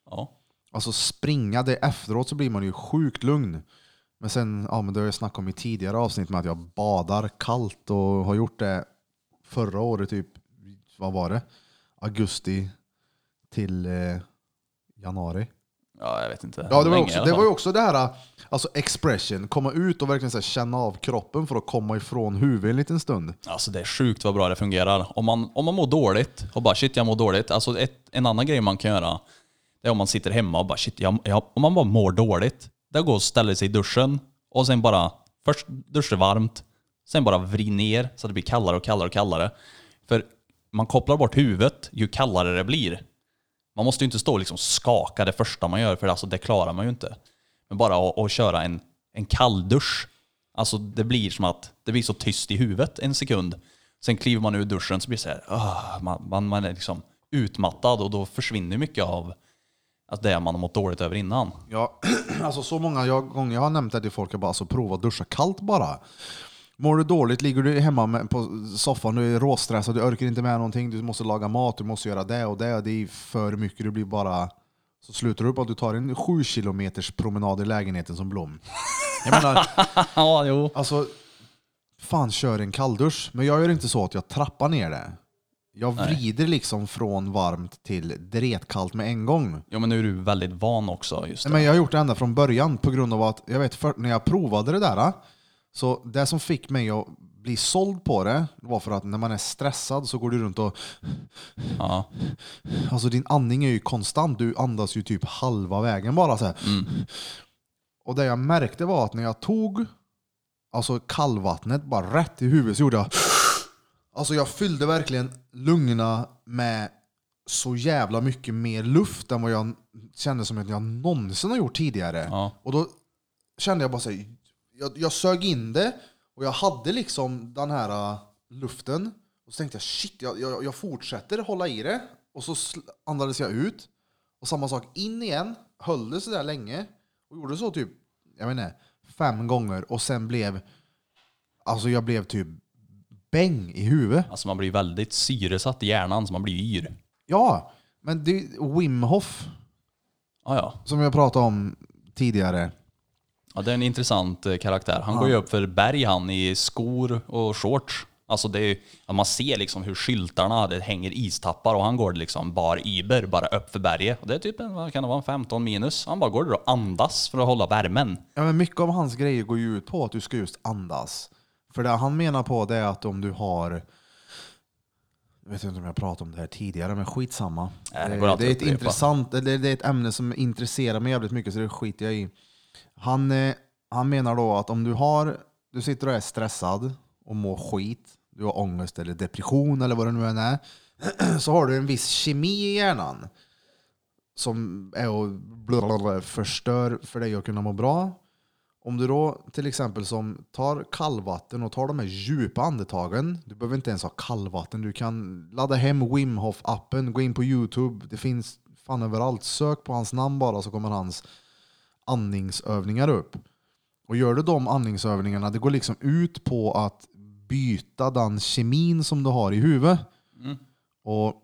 B: Ja.
A: Alltså springa, det efteråt så blir man ju sjukt lugn. Men sen, ja men det har jag snackat om i tidigare avsnitt med att jag badar kallt och har gjort det förra året, typ, vad var det? Augusti till eh, januari.
B: Ja, jag vet inte.
A: Ja, det var,
B: Länge i
A: också,
B: alla
A: det
B: fall.
A: var ju också det här alltså expression, komma ut och verkligen så här, känna av kroppen för att komma ifrån huvudet en liten stund.
B: Alltså det är sjukt vad bra det fungerar. Om man, om man mår dåligt och bara shit jag mår dåligt. Alltså ett, en annan grej man kan göra, det är om man sitter hemma och bara shit, jag, jag, om man bara mår dåligt. Det går och ställer sig i duschen och sen bara, först duschar varmt, sen bara vrid ner så att det blir kallare och kallare och kallare. För man kopplar bort huvudet ju kallare det blir. Man måste ju inte stå och liksom skaka det första man gör, för alltså det klarar man ju inte. Men bara att, att köra en, en kalldusch. Alltså det blir som att det blir så tyst i huvudet en sekund. Sen kliver man ur duschen så blir det så här, ah, man, man, man är liksom utmattad och då försvinner mycket av att det man har mått dåligt över innan.
A: Ja, alltså så många jag, gånger jag har nämnt det till folk, jag bara alltså prova att duscha kallt bara. Mår du dåligt, ligger du hemma med, på soffan, du är råstressad, du orkar inte med någonting, du måste laga mat, du måste göra det och det, och det är för mycket, du blir bara... Så slutar du upp att du tar en sju kilometers promenad i lägenheten som Blom. Jag menar,
B: Ja, jo.
A: Alltså, fan kör en kalldusch. Men jag gör inte så att jag trappar ner det. Jag vrider liksom från varmt till dretkallt med en gång.
B: Ja, men nu är du väldigt van också. Just det.
A: Nej, men jag har gjort det ända från början på grund av att jag vet för, när jag provade det där. Så det som fick mig att bli såld på det var för att när man är stressad så går du runt och...
B: Ja.
A: Alltså din andning är ju konstant. Du andas ju typ halva vägen bara så här. Och det jag märkte var att när jag tog alltså kallvattnet bara rätt i huvudet så gjorde jag Alltså jag fyllde verkligen lungorna med så jävla mycket mer luft än vad jag kände som att jag någonsin har gjort tidigare.
B: Ja.
A: Och då kände jag bara så här, jag, jag sög in det och jag hade liksom den här äh, luften. Och så tänkte jag shit, jag, jag, jag fortsätter hålla i det. Och så sl- andades jag ut. Och samma sak in igen, höll det sådär länge. Och gjorde så typ, jag vet inte, fem gånger. Och sen blev, alltså jag blev typ bäng i huvudet.
B: Alltså man blir väldigt syresatt i hjärnan så man blir yr.
A: Ja, men det är Wim Hof
B: Ja, ja.
A: som jag pratade om tidigare.
B: Ja, det är en intressant eh, karaktär. Han går ju upp för berg han i skor och shorts. Alltså det är, ju- ja, man ser liksom hur skyltarna, det hänger istappar och han går liksom bar iber, bara upp för berget. Och det är typ en, vad kan det vara, en 15 minus. Han bara går där och andas för att hålla värmen.
A: Ja, men mycket av hans grejer går ju ut på att du ska just andas. För det han menar på det är att om du har... Jag vet inte om jag pratade om det här tidigare, men skitsamma.
B: Nej, det går
A: Eh,
B: alltid
A: det, är
B: att
A: ett
B: upprepa.
A: intressant, det, det är ett ämne som intresserar mig jävligt mycket, så det skiter jag i. Han, eh, han menar då att om du, har, du sitter och är stressad och mår skit, du har ångest eller depression eller vad det nu än är, så har du en viss kemi i hjärnan som är och blablabla, förstör för dig att kunna må bra. Om du då till exempel som tar kallvatten och tar de här djupa andetagen. Du behöver inte ens ha kallvatten. Du kan ladda hem Wim Hof appen gå in på Youtube. Det finns fan överallt. Sök på hans namn bara så kommer hans andningsövningar upp. Och gör du de andningsövningarna, det går liksom ut på att byta den kemin som du har i huvudet. Och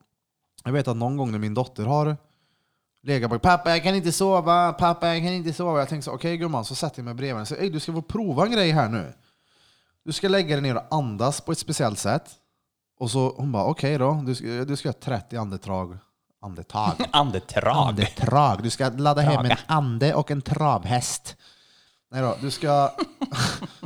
A: jag vet att någon gång när min dotter har Lega bara, pappa jag kan inte sova, pappa jag kan inte sova. Jag tänkte så, okej gumman, så sätter jag mig bredvid henne och säger, "Ey, du ska få prova en grej här nu. Du ska lägga dig ner och andas på ett speciellt sätt. Och så hon bara, okej då, du ska, du ska ha 30 andetag. Andetag?
B: Andetrag.
A: Andetrag. Du ska ladda hem en ande och en travhäst. Nej då, du ska...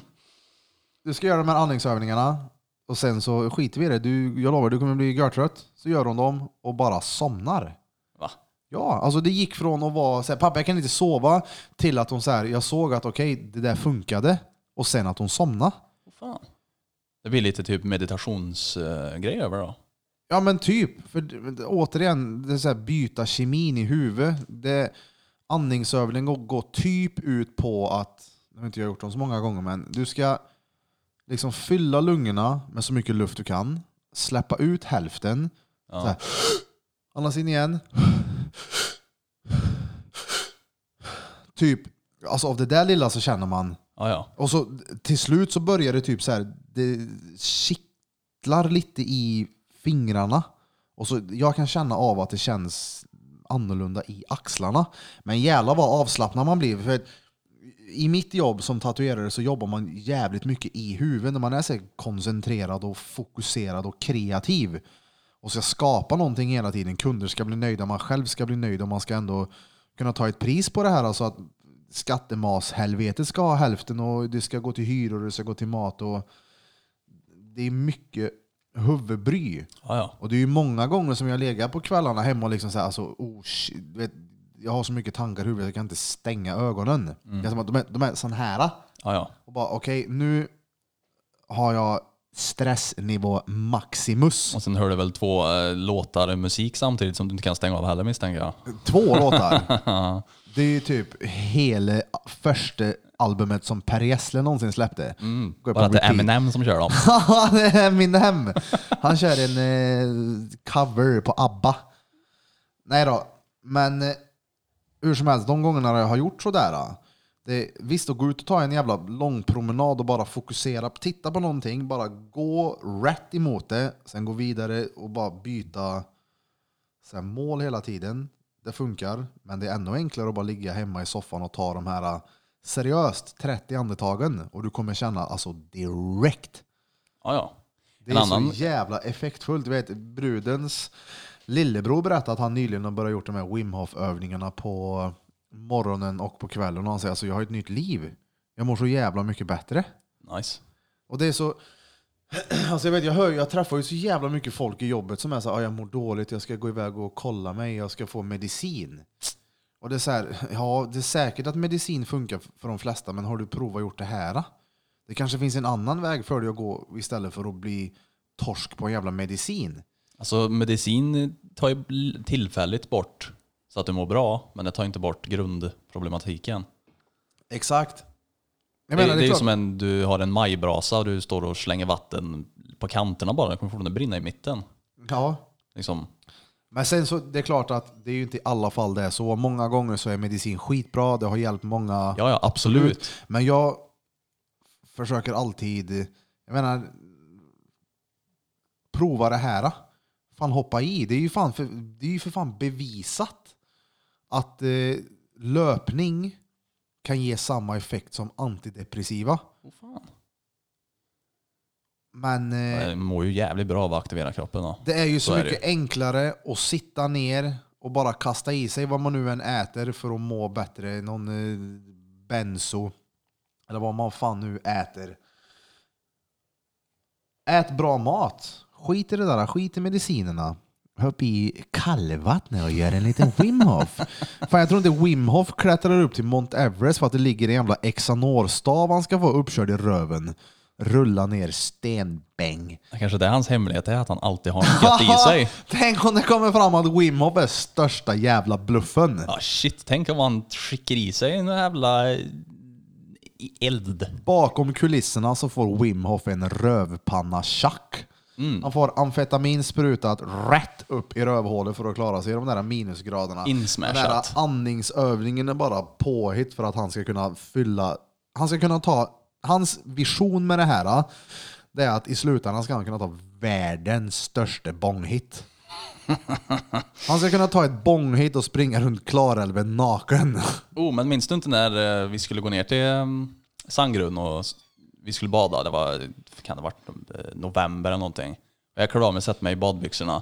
A: du ska göra de här andningsövningarna och sen så skiter vi i det. Du, jag lovar, du kommer bli görtrött. Så gör hon dem och bara somnar.
B: Va?
A: Ja, alltså det gick från att vara så här, pappa jag kan inte sova, till att hon så här, jag såg att okej, det där funkade. Och sen att hon somnade.
B: Vad Fan. Det blir lite typ meditationsgrej över då.
A: Ja men typ. För d- återigen, det är så här, byta kemin i huvudet. Det, andningsövningen går, går typ ut på att, jag har inte jag gjort dem så många gånger, men du ska liksom fylla lungorna med så mycket luft du kan, släppa ut hälften,
B: Ja.
A: så här, andas in igen. Typ, alltså av det där lilla så känner man
B: Ja, ja.
A: och så till slut så börjar det typ så här, det kittlar lite i fingrarna. Och så, jag kan känna av att det känns annorlunda i axlarna. Men jävlar vad avslappnad man blir. För I mitt jobb som tatuerare så jobbar man jävligt mycket i huvudet när man är så här koncentrerad och fokuserad och kreativ. Och ska skapa någonting hela tiden. Kunder ska bli nöjda, man själv ska bli nöjd och man ska ändå kunna ta ett pris på det här. Alltså att skattemashelvetet ska ha hälften och det ska gå till hyror och det ska gå till mat. Och det är mycket huvudbry.
B: ja, ja.
A: Och det är ju många gånger som jag legat på kvällarna hemma och liksom såhär, alltså, oh, shit, du vet, jag har så mycket tankar i huvudet att jag kan inte stänga ögonen.
B: Mm.
A: Det är som att de är, de är sån här.
B: ja, ja.
A: Och bara okej, nu har jag stressnivå maximus.
B: Och sen hör du väl två eh, låtar musik samtidigt som du inte kan stänga av heller misstänker jag.
A: Två låtar. Det är ju typ hela första albumet som Per Gessle någonsin släppte. Går på
B: Mm. Bara att det är
A: repeat.
B: Eminem som kör dem.
A: Ja, det är Eminem. Han kör en eh, cover på ABBA. Nej då, men eh, hur som helst, de gångerna jag har gjort sådär. ah, Det, visst, att gå ut och ta en jävla lång promenad och bara fokusera, titta på någonting, bara gå rätt emot det, sen gå vidare och bara byta så här, mål hela tiden. Det funkar, men det är ännu enklare att bara ligga hemma i soffan och ta de här ah, seriöst 30 andetagen och du kommer känna alltså direkt
B: Ja, ja.
A: det
B: En
A: är
B: annan-
A: så jävla effektfullt. Du vet, brudens lillebror berättade att han nyligen har börjat gjort de här Wim Hof-övningarna på morgonen och på kvällen. Och han säger alltså, jag har ett nytt liv. Jag mår så jävla mycket bättre.
B: Nice.
A: Och det är så... Alltså jag, vet, jag, hör, ju- jag träffar ju så jävla mycket folk i jobbet som är så här, "Ah, jag mår dåligt, jag ska gå iväg och kolla mig, jag ska få medicin. Och det är så här, ja det är säkert att medicin funkar för de flesta, men har du provat gjort det här? Det kanske finns en annan väg för dig att gå istället för att bli torsk på en jävla medicin.
B: Alltså medicin tar ju l- tillfälligt bort så att du mår bra, men det tar inte bort grundproblematiken.
A: Exakt. Jag
B: det,
A: menar,
B: är-
A: det,
B: det är ju
A: klart-
B: som en, du har en majbrasa och du står och slänger vatten på kanterna bara. Det kommer fortfarande brinna i mitten.
A: Ja,
B: Liksom.
A: Men sen så, det är klart att det är ju inte i alla fall det är så. Många gånger så är medicin skitbra, det har hjälpt många.
B: Ja, ja, absolut.
A: Men jag försöker alltid, jag menar, prova det här. Fan hoppa i. Det är ju, fan för, det är ju för fan bevisat att eh, löpning kan ge samma effekt som antidepressiva.
B: Åh, fan.
A: Men eh,
B: Det mår ju jävligt bra av att aktivera kroppen. Då.
A: Det är ju så,
B: Så är
A: mycket enklare att sitta ner och bara kasta i sig vad man nu än äter för att må bättre. Någon eh, benzo eller vad man fan nu äter. Ät bra mat. Skit i det där, skit i medicinerna. Hopp i kallvattnet och gör en liten Wim Hof. Fan, jag tror inte Wim Hof klättrar upp till Mount Everest för att det ligger en jävla Exanorstav han ska få uppkörd i röven. Rulla ner stenbäng.
B: Kanske det är hans hemlighet, det är att han alltid har något gött i sig.
A: Tänk om det kommer fram att Wim Hof är största jävla bluffen.
B: Ja, shit, tänk om han skickar i sig en jävla eh, eld.
A: Bakom kulisserna så får Wim Hof en rövpanna tjack.
B: Mm.
A: Han får amfetamin sprutat rätt upp i rövhålet för att klara sig i de där minusgraderna.
B: Insmashat.
A: Den där andningsövningen är bara påhitt för att han ska kunna fylla... Han ska kunna ta... Hans vision med det här, det är att i slutändan ska han kunna ta världens största bonghit. Han ska kunna ta ett bång hit och springa runt Klarälven naken.
B: Oh, men minns du inte när eh, vi skulle gå ner till eh, Sandgrund och s- vi skulle bada? Det var, kan det ha varit eh, november eller någonting. Jag klädde av mig och satte mig i badbyxorna.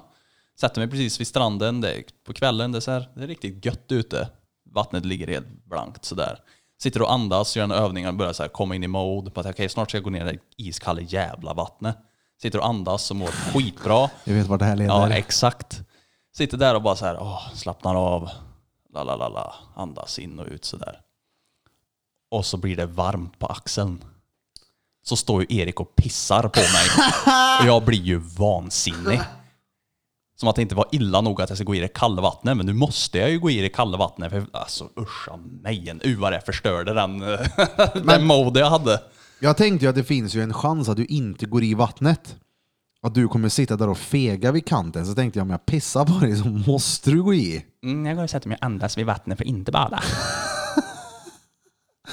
B: Satte mig precis vid stranden det, är på kvällen. Det är, så här, det är riktigt gött ute. Vattnet ligger helt blankt sådär. Sitter och andas, gör en övning och börjar så här, komma in i mode. På att okej, snart ska jag gå ner i det iskalla jävla vattnet. Sitter och andas och mår skitbra.
A: Jag vet vart det här
B: Ja,
A: leder.
B: exakt. Sitter där och bara så här, åh, slappnar av, la la la la, andas in och ut så där. Och så blir det varmt på axeln. Så står ju Erik och pissar på mig. Och jag blir ju vansinnig. Som att det inte var illa nog att jag ska gå i det kalla vattnet, men nu måste jag ju gå i det kalla vattnet. För, alltså uscha mig, en URF förstörde den, eh, den mode jag hade.
A: Jag tänkte ju att det finns ju en chans att du inte går i vattnet. Att du kommer sitta där och fega vid kanten. Så tänkte jag om jag pissar på dig så måste du gå i.
B: Mm, jag går och sätter mig och andas vid vattnet för att inte bada.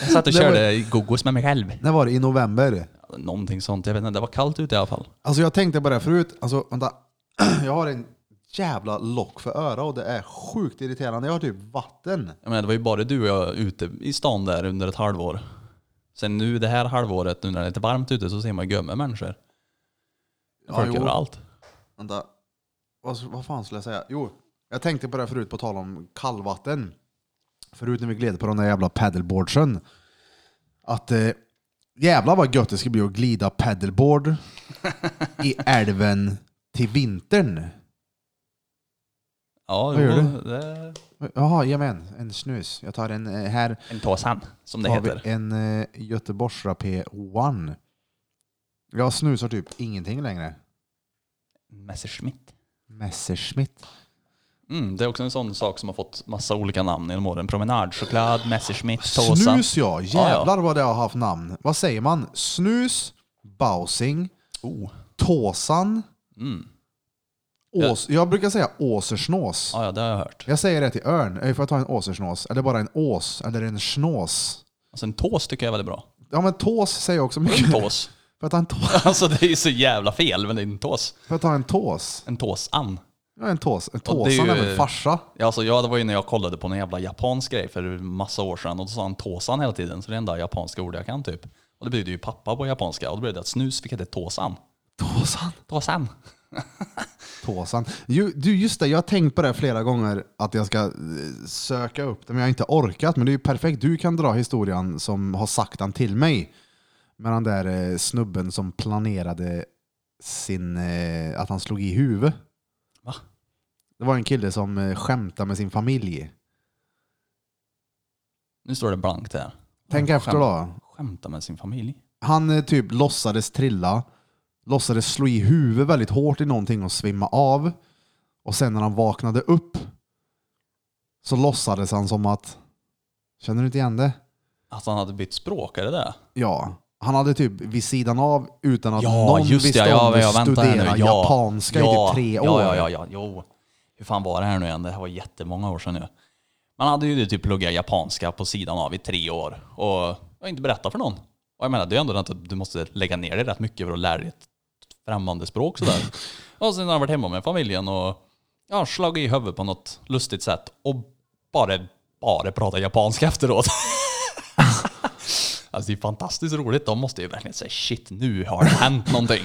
B: jag satt och
A: Det var-
B: körde gogos med mig själv.
A: När var det? I november?
B: Någonting sånt. Jag vet inte, det var kallt ute i alla fall.
A: Alltså jag tänkte på det här förut. Alltså vänta. Jag har en jävla lock för öra och det är sjukt irriterande. Jag har typ vatten.
B: Jag menar, det var ju bara du och jag ute i stan där under ett halvår. Sen nu det här halvåret, nu när det är lite varmt ute, så ser man gömma människor. Folk
A: jo.
B: överallt.
A: Vänta. Vad, vad fan skulle jag säga? Jo, jag tänkte på det här förut på tal om kallvatten. Förut när vi gled på den där jävla paddleboardsen. Att eh, jävlar vad gött det ska bli att glida paddleboard i älven till vintern.
B: Ja,
A: Vad gör
B: jo,
A: du?
B: det-
A: Jaha, jajamän. En snus. Jag tar en eh, här.
B: En tåsan, som det
A: har vi
B: heter.
A: en eh, Göteborgsrapé One. Jag snusar typ ingenting längre.
B: Messerschmitt.
A: Messerschmitt.
B: Mm, det är också en sån sak som har fått massa olika namn genom åren. Promenadchoklad, Messerschmitt, tåsa.
A: Snus ja, jävlar vad det har haft namn. Vad säger man? Snus, Bausing,
B: Oh.
A: Tåsan,
B: Mm.
A: ås, jag brukar säga Åsersnås.
B: Ja, ja, det har jag hört.
A: Jag säger det till Örn, Eh, får jag ta en Åsersnås? Eller bara en Ås, eller en Snås.
B: Alltså en tås tycker jag är väldigt bra.
A: Ja men Tås säger jag också mycket.
B: En
A: Får
B: tås.
A: jag ta en, tå-
B: Alltså det är ju så jävla fel, men det är en tås.
A: får jag ta en Tås?
B: En tåsan.
A: Ja, en Tås. En
B: Och det är
A: Tåsan är
B: ju-
A: väl farsa?
B: Ja, Alltså, jag, det var ju när jag kollade på någon jävla japansk grej för massa år sedan och då sa han tåsan hela tiden, så det är det enda japanska ord jag kan typ. Och det betyder ju pappa på japanska och då blev det att snus fick heta tåsan.
A: Tåsan.
B: Tåsan.
A: Tåsan. Ju, du, just det, jag har tänkt på det här flera gånger att jag ska eh, söka upp det, men jag har inte orkat. Men det är ju perfekt, du kan dra historien som har sagt den till mig. Med den där eh, snubben som planerade sin, eh, att han slog i huvudet.
B: Va?
A: Det var en kille som eh, skämtade med sin familj.
B: Nu står det blankt här.
A: Tänk
B: Ja,
A: efter då.
B: Skämta med sin familj.
A: Han eh, typ låtsades trilla, låtsades slå i huvudet väldigt hårt i någonting och svimma av. Och sen när han vaknade upp så låtsades han som att... Känner du inte igen det?
B: Att han hade bytt språk, är det det?
A: Ja. Han hade typ vid sidan av, utan att
B: Ja,
A: någon
B: just det.
A: visste
B: Ja,
A: om
B: ja,
A: det,
B: ja, vänta här nu.
A: studera
B: Ja.
A: japanska i typ tre år.
B: Ja, ja, ja, ja, jo. Hur fan var det här nu igen? Det här var jättemånga år sedan nu. Man hade ju typ pluggat japanska på sidan av i tre år och jag inte berättat för någon. Och jag menar, det är ju ändå att du måste lägga ner dig rätt mycket för att lära dig ett främmande språk sådär. och sen har jag varit hemma med familjen och ja, slagit i huvudet på något lustigt sätt och bara, bara pratat japanska efteråt. alltså det är fantastiskt roligt. De måste ju verkligen säga shit, nu har det hänt någonting.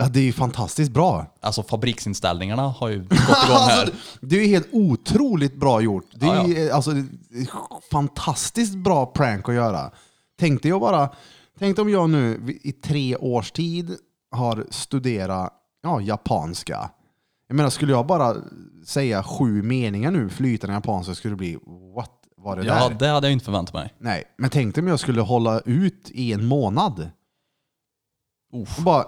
A: Ja, det är ju fantastiskt bra.
B: Alltså fabriksinställningarna har ju gått igång
A: Alltså,
B: här.
A: det är ju helt otroligt bra gjort. Det är
B: Ja, ja.
A: ju eh, alltså, det är fantastiskt bra prank att göra. Tänk dig att bara, tänk dig om jag nu i tre års tid har studerat ja, japanska. Jag menar, skulle jag bara säga sju meningar nu flytande japanska skulle det bli what var det
B: Ja,
A: där?
B: det hade jag inte förväntat mig.
A: Nej, men tänk dig om jag skulle hålla ut i en månad.
B: Uff.
A: Och bara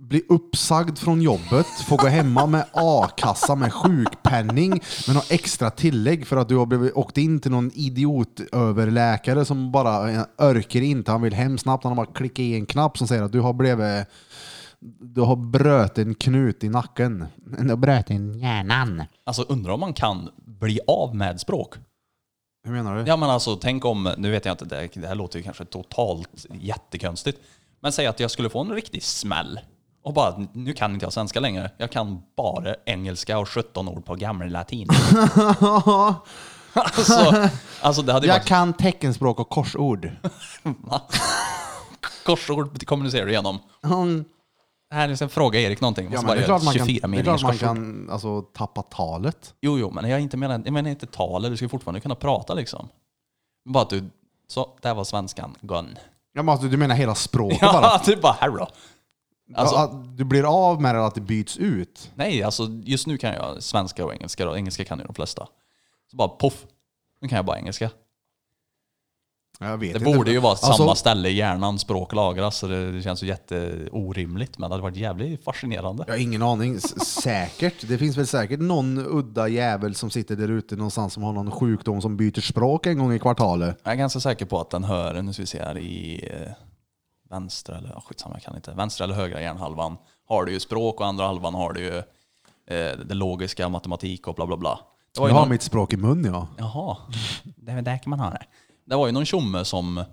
A: bli uppsagd från jobbet, få gå hemma med a-kassa med sjukpenning, men ha extra tillägg för att du har blivit, åkt in till någon idiotöverläkare som bara eh, örker inte. Han vill hem snabbt, han har bara klickat i en knapp som säger att du har blivit du har bröt en knut i nacken. Du har bröt en hjärnan.
B: Alltså undrar om man kan bli av med språk.
A: Hur menar du?
B: Ja men alltså tänk om, nu vet jag inte, det, det här låter ju kanske totalt jättekonstigt. Men säg att jag skulle få en riktig smäll. Och bara, nu kan inte jag svenska längre. Jag kan bara engelska och 17 ord på gammal latin. alltså, alltså det hade ju
A: Jag
B: varit
A: kan teckenspråk och korsord.
B: korsord kommunicerar du igenom. Här, sen frågar Erik någonting.
A: Ja,
B: så
A: men
B: Alltså, bara
A: det är
B: gör
A: klart man
B: 24
A: kan, det är klart
B: meningars
A: man
B: korsord.
A: kan alltså, tappa talet.
B: Jo, jo, men jag, är inte menar, jag menar inte talet. Du ska ju fortfarande kunna prata liksom. Bara att du, så, där var svenskan gone.
A: Ja, men, alltså, du menar hela språket bara?
B: Ja, typ bara här då. Alltså,
A: Ja, att du blir av med det och att det byts ut?
B: Nej, alltså just nu kan jag svenska och engelska. Då. Engelska kan ju de flesta. Så bara poff, nu kan jag bara engelska.
A: Jag vet
B: Det
A: inte.
B: borde ju vara
A: Alltså,
B: samma ställe i hjärnan språk lagras, så det, det känns ju jätteorimligt. Men det hade varit jävligt fascinerande.
A: Jag har ingen aning. S- Säkert. Det finns väl säkert någon udda jävel som sitter där ute någonstans som har någon sjukdom som byter språk en gång i kvartalet.
B: Jag är ganska säker på att den hör, nu ska vi se här, i eh, vänstra eller, oh, skitsamma jag kan inte, vänstra eller högra hjärnhalvan har du ju språk och andra halvan har du ju eh, det logiska, matematik och bla bla bla. Det var
A: Jag
B: ju
A: har
B: någon,
A: mitt språk i mun ja.
B: Jaha, det är där kan man ha det. Det var ju någon tjomme som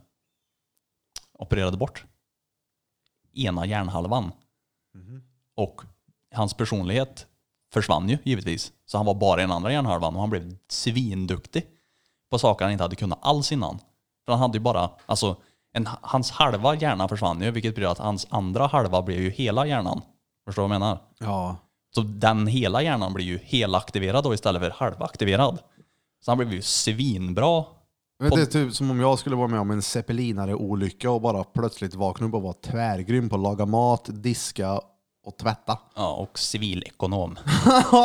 B: opererade bort ena hjärnhalvan. Mhm. Och hans personlighet försvann ju givetvis. Så han var bara i den andra hjärnhalvan och han blev svinduktig på saker han inte hade kunnat alls innan. För han hade ju bara, alltså en, hans halva hjärna försvann ju vilket betyder att hans andra halva blev ju hela hjärnan. Förstår du vad jag menar?
A: Ja.
B: Så den hela hjärnan blir ju helaktiverad då istället för halvaktiverad. Så han blev ju svinbra.
A: Men det är typ som om jag skulle vara med om en zeppelinare-olycka och bara plötsligt vakna upp och vara tvärgrym på att laga mat, diska och tvätta.
B: Ja, och civilekonom.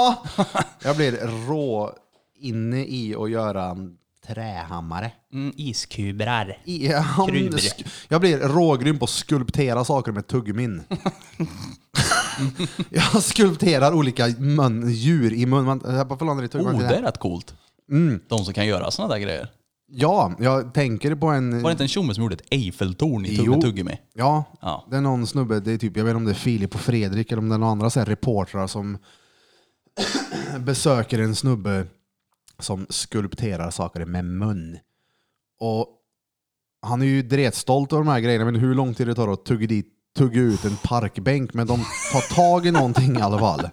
A: Jag blir rå inne i att göra en trähammare.
B: Mm, iskubrar.
A: I- ja, men
B: Kryddor.
A: sk- Jag blir rågrym på att skulptera saker med tuggummin. jag skulpterar olika mun, djur i mun. Man tappar förlånade i
B: Oh,
A: tuggummin.
B: det är rätt coolt.
A: Mm.
B: De som kan göra sådana där grejer.
A: Ja, jag tänker på en...
B: Var det inte en tjomme som gjorde ett Eiffeltorn i
A: Jo.
B: tugg- tuggummi?
A: Ja,
B: Ja.
A: det är någon snubbe, det är typ, jag vet inte om det är Filip och Fredrik eller om det är några andra så här reportrar som besöker en snubbe som skulpterar saker med mun. Och han är ju dretstolt över de här grejerna, men hur lång tid det tar att tugga, dit, tugga ut en parkbänk, men de tar tag i någonting i alla fall.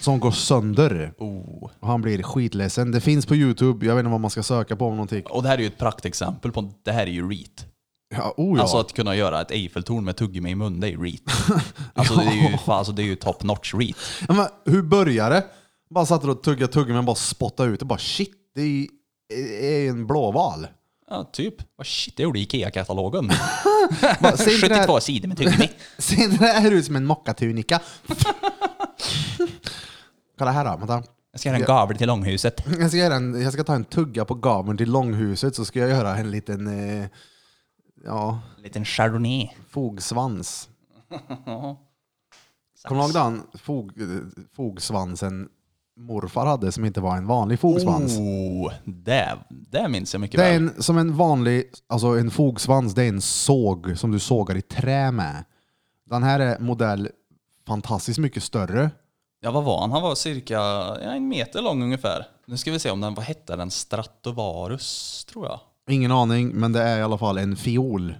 A: Som går sönder.
B: Oh.
A: Och han blir skitledsen. Det finns på Youtube, jag vet inte vad man ska söka på om någonting.
B: Och det här är ju ett praktexempel på, det här är ju REAT.
A: Ja, oh ja.
B: Alltså att kunna göra ett Eiffeltorn med tuggummi i mun, det är ju REAT. Alltså, det, är ju, fan, alltså det är ju top notch REAT.
A: Ja, men hur började det? Bara satt där och tuggade tuggummi men bara spottade ut det. Bara shit, det är ju- eh, är en blåval.
B: Ja, typ. Vad shit, det gjorde Ikea-katalogen.
A: Bara, Ser inte det
B: 72
A: här-
B: sidor med tuggummi.
A: ser inte det här ut som en mockatunika? Kolla här då, vänta.
B: Jag ska göra en gavel till långhuset.
A: Jag ska, göra en, jag ska ta en tugga på gaveln till långhuset så ska jag göra en liten eh, ja,
B: En liten chardonnay.
A: fogsvans. Kommer du ihåg den fog, fogsvansen morfar hade som inte var en vanlig fogsvans?
B: Oh, det, det minns jag mycket
A: Det är
B: väl.
A: en, som en vanlig, alltså en fogsvans, det är en såg som du sågar i trä med. Den här är modell fantastiskt mycket större.
B: Ja, vad var han? Han var cirka ja, en meter lång ungefär. Nu ska vi se om den, vad hette den? Stratovarus, tror jag.
A: Ingen aning, men det är i alla fall en fiol.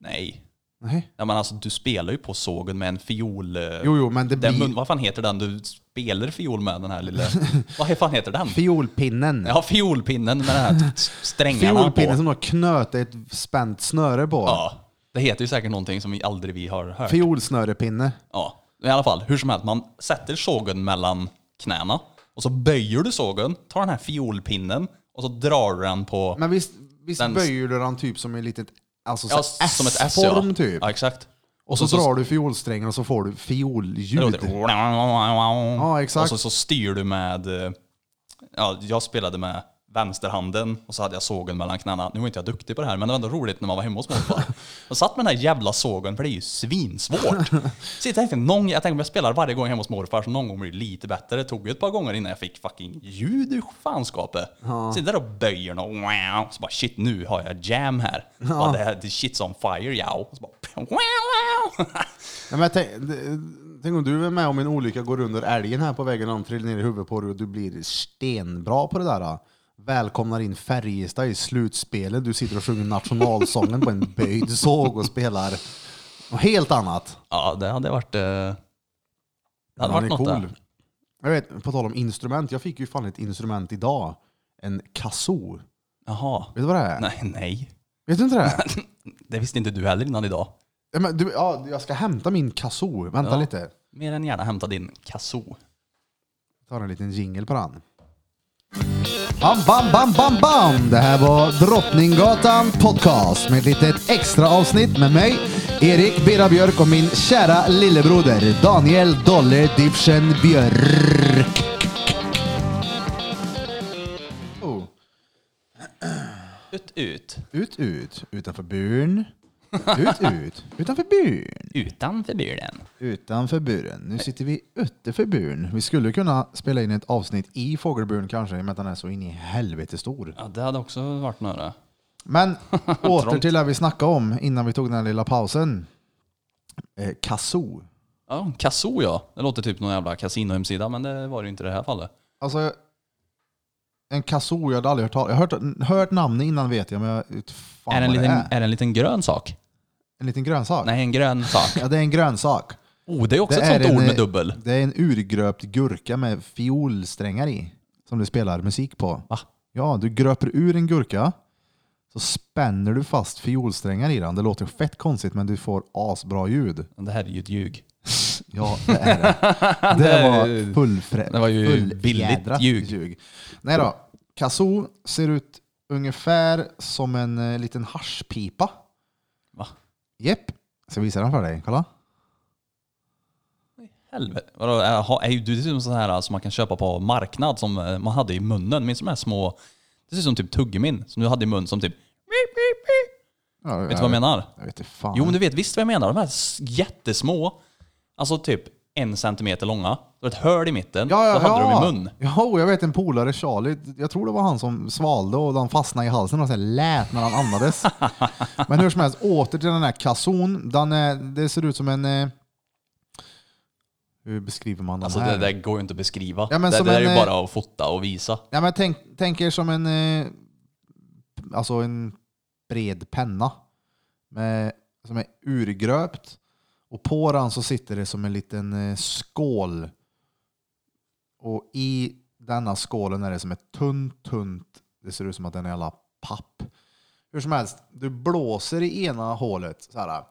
B: Nej.
A: Nej.
B: Ja, men alltså, du spelar ju på sågen med en fiol... eh,
A: Jo, jo, men det
B: den,
A: blir
B: mun- vad fan heter den du spelar fiol med? Den här lilla... vad fan heter den?
A: fiolpinnen.
B: Ja, fiolpinnen med den här strängarna på.
A: Fiolpinnen som du har knöt ett spänt snöre på.
B: Ja, det heter ju säkert någonting som vi aldrig vi har hört.
A: Fiolsnörepinne.
B: Ja, men i alla fall, hur som helst, man sätter sågen mellan knäna och så böjer du sågen, tar den här fiolpinnen och så drar du den på...
A: Men visst, visst
B: Den-
A: böjer du den typ som en litet alltså,
B: ja,
A: så här
B: som ett S
A: S-form
B: ja.
A: typ.
B: Ja, exakt.
A: Och så, drar du fiolsträngen och så får du fiolljud.
B: det låter-
A: Ja, exakt.
B: Och så, så styr du med... eh, Ja, jag spelade med vänsterhanden och så hade jag sågen mellan knäna. Nu var inte jag duktig på det här, men det var ändå roligt när man var hemma hos morfar. Jag satt med den här jävla sågen, för det är ju svinsvårt. Så jag tänkte, någon, jag tänkte om jag spelar varje gång hemma hos morfar så någon gång blir det lite bättre. Det tog ju ett par gånger innan jag fick fucking ljud ur fanskapet. Så jag där och böjer och wow. Så bara shit, nu har jag jam här. Bara, det här det är shit's on fire, ja. Och så bara, wow, wow.
A: Ja, men jag tänk, tänk om du är med om en olycka, går under älgen här på vägen och trillar ner i huvudet på dig och du blir stenbra på det där. då. Välkomnar in Färjestad i slutspelet. Du sitter och sjunger nationalsången på en böjd såg och spelar Och helt annat.
B: Ja, det hade varit... eh, Det hade
A: Den
B: varit
A: är
B: något där.
A: Jag vet, på tal om instrument. Jag fick ju fan ett instrument idag. En kazoo. Vet
B: Jaha.
A: du vad det är?
B: Nej, nej.
A: Vet du inte det?
B: Det visste inte du heller innan idag.
A: Ja, Men du, ja, jag ska hämta min kazoo. Vänta
B: Ja.
A: lite.
B: Mer än gärna hämta din kazoo.
A: Jag tar en liten jingle på den. Bam, bam, bam, bam, bam! Det här var Drottninggatan Podcast med ett litet extra avsnitt med mig, Erik Birra Björk och min kära lillebroder Daniel Dolle Dipschen Björk. Oh.
B: Ut, ut.
A: Ut, ut, utanför buren. Ut, ut, utanför buren.
B: Utanför bilen.
A: Utanför buren. Nu sitter vi utanför buren. Vi skulle kunna spela in ett avsnitt i fågelburen kanske, i och med att den är så in i helvete stor.
B: Ja, det hade också varit några.
A: Men åter till det vi snackade om innan vi tog den här lilla pausen. Eh, kazoo.
B: Ja, kazoo ja. Det låter typ någon jävla kasinohemsida, men det var det ju inte i det här fallet.
A: Alltså, en kazoo, jag hade aldrig hört talas Jag har hört, hört namnet innan vet jag, men jag vet fan
B: är, det en
A: vad
B: liten,
A: det
B: är
A: är.
B: det en liten grön sak?
A: En liten grönsak?
B: Nej, en grön sak.
A: Ja, det är en grönsak.
B: Oh, det är också
A: Det
B: ett
A: är
B: sånt
A: en,
B: ord med
A: eh,
B: dubbel.
A: Det är en urgröpt gurka med fiolsträngar i, som du spelar musik på.
B: Va?
A: Ja, du gröper ur en gurka, så spänner du fast fiolsträngar i den. Det låter fett konstigt, men du får asbra ljud.
B: Men Det här är ju ett ljug.
A: Ja, det är det. Det
B: är
A: var
B: ju-
A: fullfrä-
B: det var ju
A: fulljädrat
B: billigt ljug.
A: Nej då, kazoo ser ut ungefär som en eh, liten haschpipa.
B: Va?
A: Jepp. Ska jag visa den för dig? Kolla.
B: Helvete. Vadå, är, ha- är ju du dessutom sån här som man kan köpa på marknad som eh, man hade i munnen? Minns du de här små... Det ser ut som typ tuggummin som du hade i munnen som typ...
A: Ja,
B: Vet du vad jag menar?
A: Jag vet inte fan.
B: Jo men du vet visst vad jag menar. De här s- jättesmå, alltså typ en centimeter långa. Det var ett hål i mitten.
A: Ja, ja,
B: så hade
A: ja.
B: de i mun.
A: Jo, jag vet en polare, Charlie. Jag tror det var han som svalde och den fastnade i halsen och så här lät när han andades. Men hur som helst, åter till den här kasson. Den är, det ser ut som en... eh, Hur beskriver man den
B: Alltså
A: här?
B: det där går ju inte att beskriva.
A: Ja, men
B: det
A: som
B: där är
A: en,
B: ju
A: eh,
B: bara att fota och visa.
A: Ja, men tänk, tänk er som en, eh, alltså en bred penna med, som är urgröpt och på den så sitter det som en liten eh, skål. Och i denna skålen är det som ett tunt, tunt, det ser ut som att den är alla papp. Hur som helst, du blåser i ena hålet så här.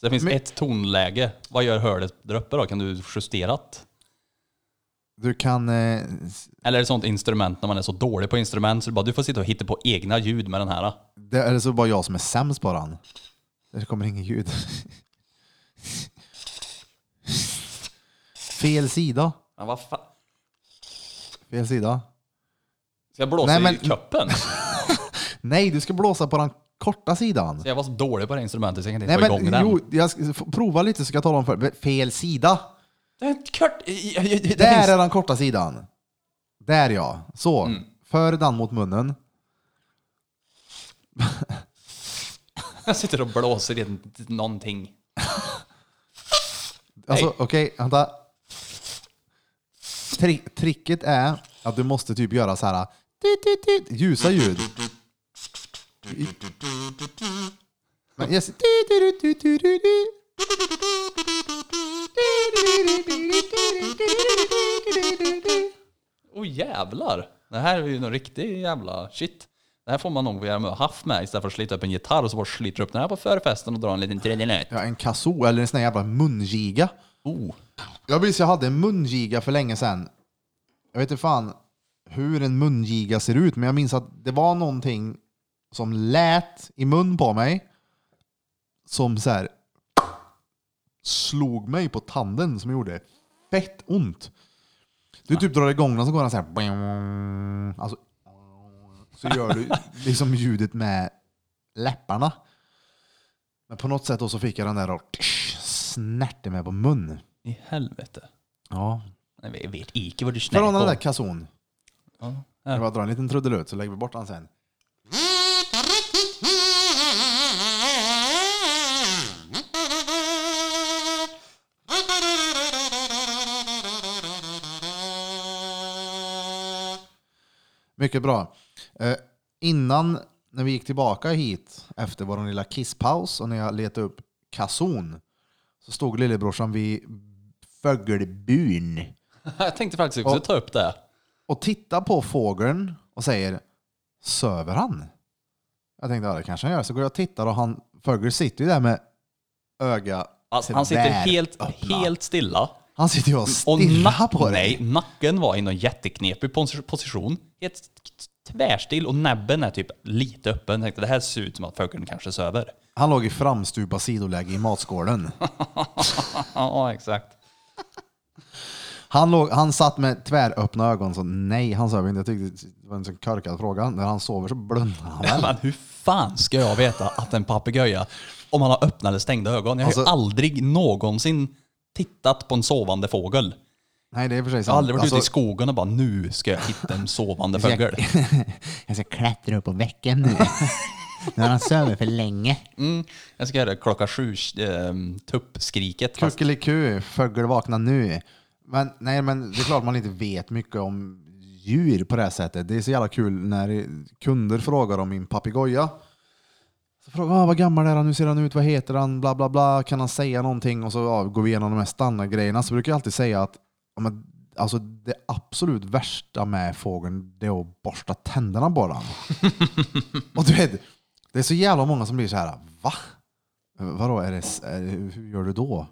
B: Så det finns
A: men-
B: ett tonläge. Vad gör hålet där uppe då? Kan du justera det?
A: Du kan eh,
B: Eller är det sånt instrument när man är så dålig på instrument så du bara du får sitta och hitta på egna ljud med den här?
A: Det, eller så är det bara jag som är sämst på den. Det kommer inget ljud. Fel sida.
B: Men vad fan?
A: Fel sida.
B: Ska jag blåsa
A: Nej, men-
B: i kuppen?
A: Nej, du ska blåsa på den korta sidan.
B: Så jag var så dålig på det här instrumentet så jag kan inte
A: Nej,
B: få igång
A: men
B: den.
A: jo, jag ska f- prova lite så ska jag tala om för Fel sida.
B: Det är ett kört... i- i- i- det
A: Där
B: finns- Mm.
A: är den korta sidan. Där ja. Så. För den mot munnen.
B: Jag sitter och blåser i ett- någonting.
A: Alltså
B: Nej.
A: okej, vänta. Tri- tricket är att du måste typ göra så här tut, tut, tut, ljusa ljud. Men yes.
B: Åh jävlar! Det här är ju någon riktig jävla shit. Det här får man nog göra med haft med istället för att slita upp en gitarr och så bara sliter upp den här på förfesten och drar en liten trillinöt.
A: Ja, en kazoo eller en sån här jävla mungiga.
B: Oh.
A: Jag minns jag hade en mungiga för länge sedan. Jag vet inte fan hur en mungiga ser ut, men jag minns att det var någonting som lät i mun på mig som så här slog mig på tanden som gjorde fett ont. Du typ drar igång den så går den så här. Alltså, så gör du liksom ljudet med läpparna. Men på något sätt då så fick jag den där och snärte mig på mun.
B: I helvete.
A: Ja.
B: Nej, vi vet icke vad du snäll
A: Från den där
B: på.
A: kasson.
B: Ja.
A: Jag bara drar en liten trudelutt så lägger vi bort den sen. Mycket bra. Eh, innan, när vi gick tillbaka hit efter vår lilla kisspaus och när jag letade upp kason så stod lillebrorsan vid fågelbyn
B: Jag tänkte faktiskt också ta upp det.
A: och tittar på fågeln och säger söver han? Jag tänkte ja, det kanske han gör. Så går jag och tittar och han, fågeln sitter ju där med öga
B: Alltså, han sitter helt,
A: tväröppna.
B: helt stilla.
A: Han sitter ju och
B: Och
A: stirrar
B: nack,
A: på dig.
B: nej, nacken var i någon jätteknepig pos- position. Helt tvärstill och näbben är typ lite öppen. Jag tänkte det här ser ut som att fågeln kanske söver.
A: Han låg i framstupa sidoläge i matskålen.
B: Ja, exakt.
A: Han, låg, han satt med tväröppna ögon så nej, han söver inte. Jag tyckte det var en sån korkad fråga. När han sover så blundar han väl.
B: Men hur fan ska jag veta att en papegoja, om han har öppna eller stängda ögon? Jag har ju
A: Alltså-
B: aldrig någonsin tittat på en sovande fågel.
A: Nej, det är i och för sig
B: Jag
A: sant. Alltså,
B: har aldrig varit ute i skogen och bara nu ska Alltså- jag hitta en sovande fågel.
A: jag ska klättra upp på väcken nu. nu har han sövit för länge.
B: Mm, jag ska göra klockan sju, eh, tuppskriket. fast-
A: Kuckeliku, fågel vakna nu. Men nej, men det är klart man inte vet mycket om djur på det här sättet. Det är så jävla kul när kunder frågar om min papegoja. Så frågar jag, ah, vad gammal är han, hur ser han ut, vad heter han, bla bla bla, kan han säga någonting? Och så ja, går vi igenom de här standardgrejerna. Så brukar jag alltid säga att ja, men, alltså, det absolut värsta med fågeln det är att borsta tänderna på den. Och du vet, det är så jävla många som blir så här, va? Vadå, är det, s- är det, hur gör du då?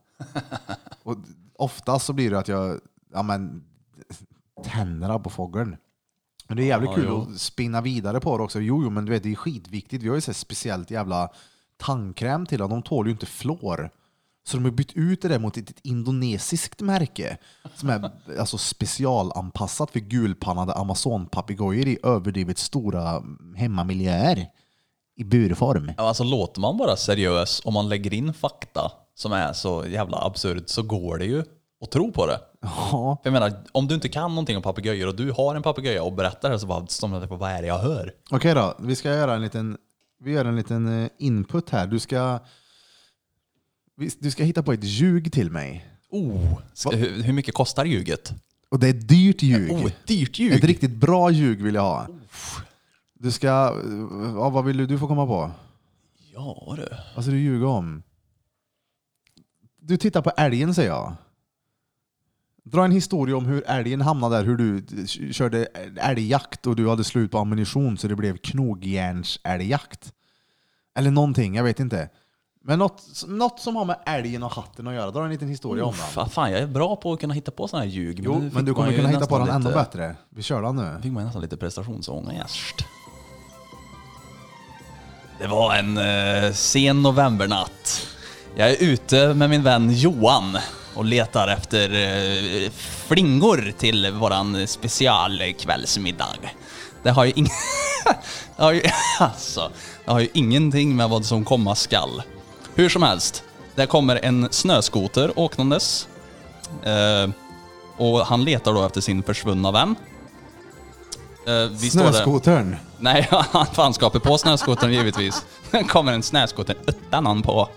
A: Och oftast så blir det att jag, ja men, tänderna på fågeln. Men det är jävligt
B: Ja,
A: kul
B: jo.
A: att spinna vidare på det också. Jo, jo, men du vet, det är skitviktigt. Vi har ju så här speciellt jävla tandkräm till dem. De tål ju inte flår. Så de har bytt ut det där mot ett, ett indonesiskt märke som är alltså specialanpassat för gulpannade amazonpapegojor i överdrivet stora hemmamiljöer i burform.
B: Ja, alltså låter man bara seriös om man lägger in fakta som är så jävla absurd så går det ju att tro på det.
A: Ja,
B: För jag menar, om du inte kan någonting om papegojor och du har en papegoja och berättar det så bara, som att, vad är det jag hör?
A: Okej då, vi ska göra en liten, vi gör en liten eh, input här. Du ska, vi- du ska hitta på ett ljug till mig.
B: Oh, ska, hur, hur mycket kostar ljuget?
A: Och det är ett dyrt ljug.
B: Oh, ett dyrt
A: Ett
B: ljug!
A: riktigt bra ljug vill jag ha. Du ska, ja, vad vill du, du får komma på?
B: Ja du.
A: Vad ska Alltså, du ljuga om? Du tittar på älgen säger jag. Dra en historia om hur älgen hamnade där, hur du k- körde älgjakt och du hade slut på ammunition så det blev knogjärnsälgjakt. Eller någonting, jag vet inte. Men något, något som har med älgen och hatten att göra, dra en liten historia om den.
B: Oh, Fan, fan, jag är bra på att kunna hitta på sådana här ljug.
A: Jo,
B: nu
A: men
B: fick
A: du kommer
B: man ju
A: kunna hitta på
B: nästan
A: den ännu
B: lite-
A: bättre. Vi kör den nu.
B: Nu fick man ju nästan lite prestationsångest. Det var en eh, sen novembernatt. Jag är ute med min vän Johan och letar efter eh, flingor till våran specialkvällsmiddag. Det har ju ing- det har ju, alltså, det har ju ingenting med vad som komma skall. Hur som helst, där kommer en snöskoter åkandes. Eh, och han letar då efter sin försvunna vän. Eh, vi står där-
A: Snöskotern.
B: Nej, han fanskapar på snöskotern givetvis. Sen kommer en snöskoter utan någon på.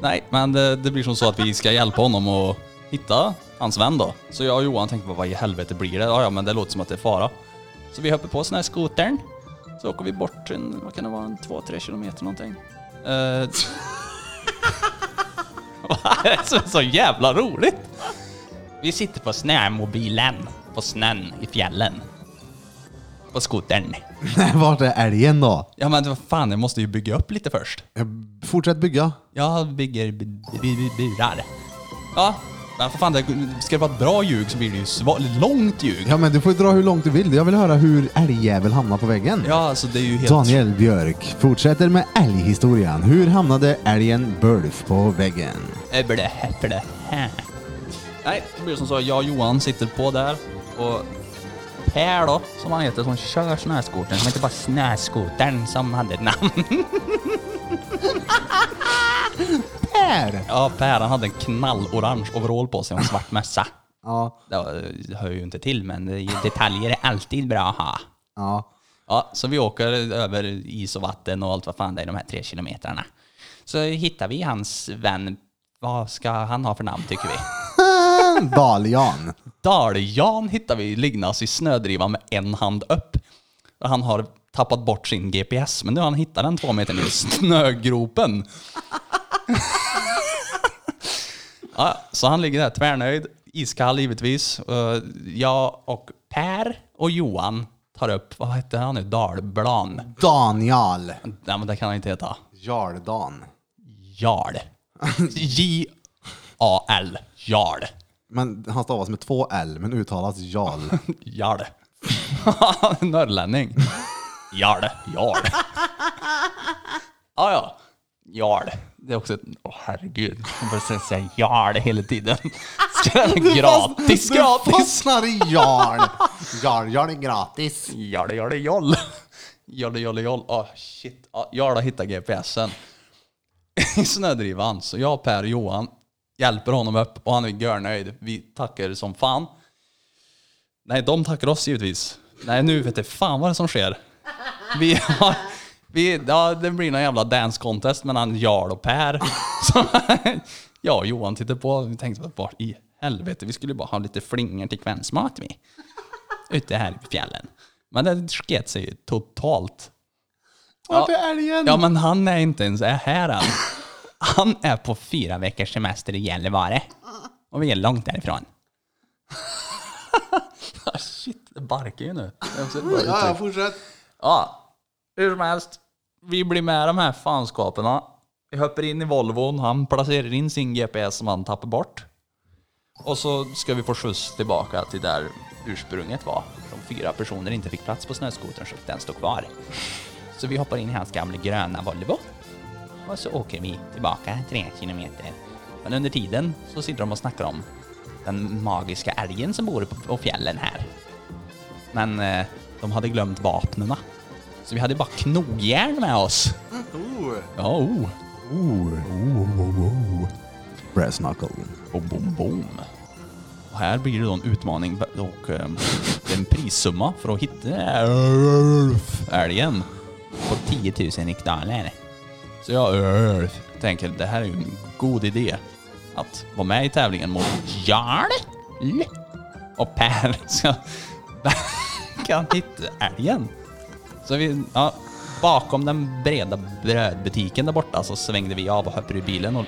B: Nej, men det, det blir som så att vi ska hjälpa honom att hitta hans vän då. Så jag och Johan tänkte bara, vad i helvete blir det? Ja, ja, men det låter som att det är fara. Så vi hoppar på snöskotern. Så åker vi bort en, vad kan det vara, en två, tre kilometer någonting. Eh, det är så, så jävla roligt! Vi sitter på snömobilen, på snön i fjällen. På skotern.
A: Vart är älgen då?
B: Ja men vad fan, jag måste ju bygga upp lite först.
A: Jag- Fortsätt bygga.
B: Jag bygger b- b- b- burar. Ja, men för fan, det, ska det vara ett bra ljug så blir det ju sva- långt ljug.
A: Ja men du får dra hur långt du vill. Jag vill höra hur älgjävel hamnar på väggen.
B: Ja, alltså det är ju helt...
A: Daniel Björk fortsätter med älghistorien. Hur hamnade älgen Bulf på väggen?
B: Äbble, äpple, hä. Nej, det blir som så. Jag och Johan sitter på där och Per då, som han heter, som kör snöskotern, som inte bara snöskotern som hade ett namn.
A: Per!
B: Ja, Per han hade en knallorange overall på sig och en svart mössa.
A: Ja,
B: Det var- det hör ju inte till, men det är ju- detaljer är alltid bra att ha.
A: ja.
B: Ja, så vi åker över is och vatten och allt vad fan det är de här tre kilometrarna. Så hittar vi hans vän. Vad ska han ha för namn tycker vi?
A: Daljan.
B: Daljan hittar vi liggandes i snödrivan med en hand upp. För han har tappat bort sin GPS, men nu har han hittat den två meter ner i snögropen. ja, så han ligger där tvärnöjd, iskall givetvis. Eh, Jag och Per och Johan tar upp, vad hette han nu, Dalblan?
A: Daniel.
B: Nej men det kan han inte heta.
A: Jarldan.
B: Jarl. J-A-L. Jarl.
A: Men han stavas med två L, men uttalas Jarl.
B: Jarl. Norrlänning. Jarl. Jarl. Ja, ja. Jarl. Det är också ett... Åh herregud. Jag börjar säga- säga jarl hela tiden. Ska den vara gratis,
A: Du
B: gratis?
A: fastnar i Jarl. Jarl, Jarl är gratis.
B: Jarl, jarl, jarl. Jarl, jarl, jarl. Åh Ah, shit. Ja, Jarl har hittat GPSen. I snödrivan. Så jag, Per och Johan hjälper honom upp och han är görnöjd. Vi tackar som fan. Nej, de tackar oss givetvis. Nej, nu vet jag fan vad det är som sker. Vi har, vi, ja, det blir någon jävla dance contest mellan Jarl och Per. Så, jag och Johan tittar på och vi tänkte, bara, vart i helvete, vi skulle ju bara ha lite flingor till kvällsmat vi. Ute här i fjällen. Men det sket sig ju totalt.
A: Vart
B: Ja.
A: är älgen?
B: Ja, men han är inte ens här än. Han är på fyra veckors semester i Gällivare. Och vi är långt därifrån. Ah, Shit, det barkar ju nu. Det är också ett bra uttryck.
A: Ja, ja, fortsätt.
B: Ja, hur som helst. Vi blir med de här fanskaperna. Vi hoppar in i Volvon. Han placerar in sin GPS som han tappar bort. Och så ska vi få skjuts tillbaka till där ursprunget var. De fyra personer inte fick plats på snöskotern så den stod kvar. Så vi hoppar in i hans gamla gröna Volvo. Och så åker vi tillbaka tre kilometer. Men under tiden så sitter de och snackar om den magiska älgen som bor på- på fjällen här. Men eh, de hade glömt vapnena. Så vi hade bara knogjärn med oss.
A: Oh.
B: Ja, oh.
A: Brass knuckle.
B: Bom, bom, bom. Och här blir det då en utmaning och eh, det är en prissumma för att hitta älgen på 10 000 riksdaler. Så jag eh, tänker det här är ju en god idé att vara med i tävlingen mot Jarl och Per ska kan hitta älgen. Så vi, ja, bakom den breda brödbutiken där borta så svängde vi av och hoppade i bilen och...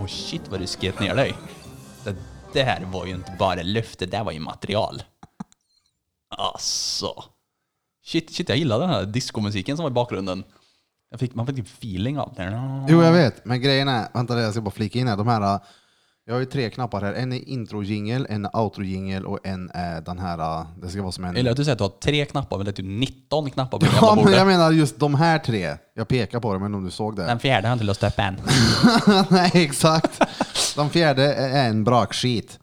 B: Åh shit vad du sket ner dig. Det där var ju inte bara luft, det där var ju material. Alltså. Shit, shit jag gillar den här discomusiken som var i bakgrunden. Jag fick, man fick typ feeling av den.
A: Jo, jag vet. Men grejen är, vänta jag ska bara flika in här. De här, äh, jag har ju tre knappar här. En är introjingel, en är outrojingel och en är den här, äh, det ska vara som en...
B: Eller att du säger att du har tre knappar, men det är typ 19 knappar på det jävla
A: Ja, men
B: bordet.
A: jag menar just de här tre. Jag pekar på dem, men om du såg det.
B: Den fjärde har inte låst upp än.
A: Nej, exakt. Den fjärde är en brakskit.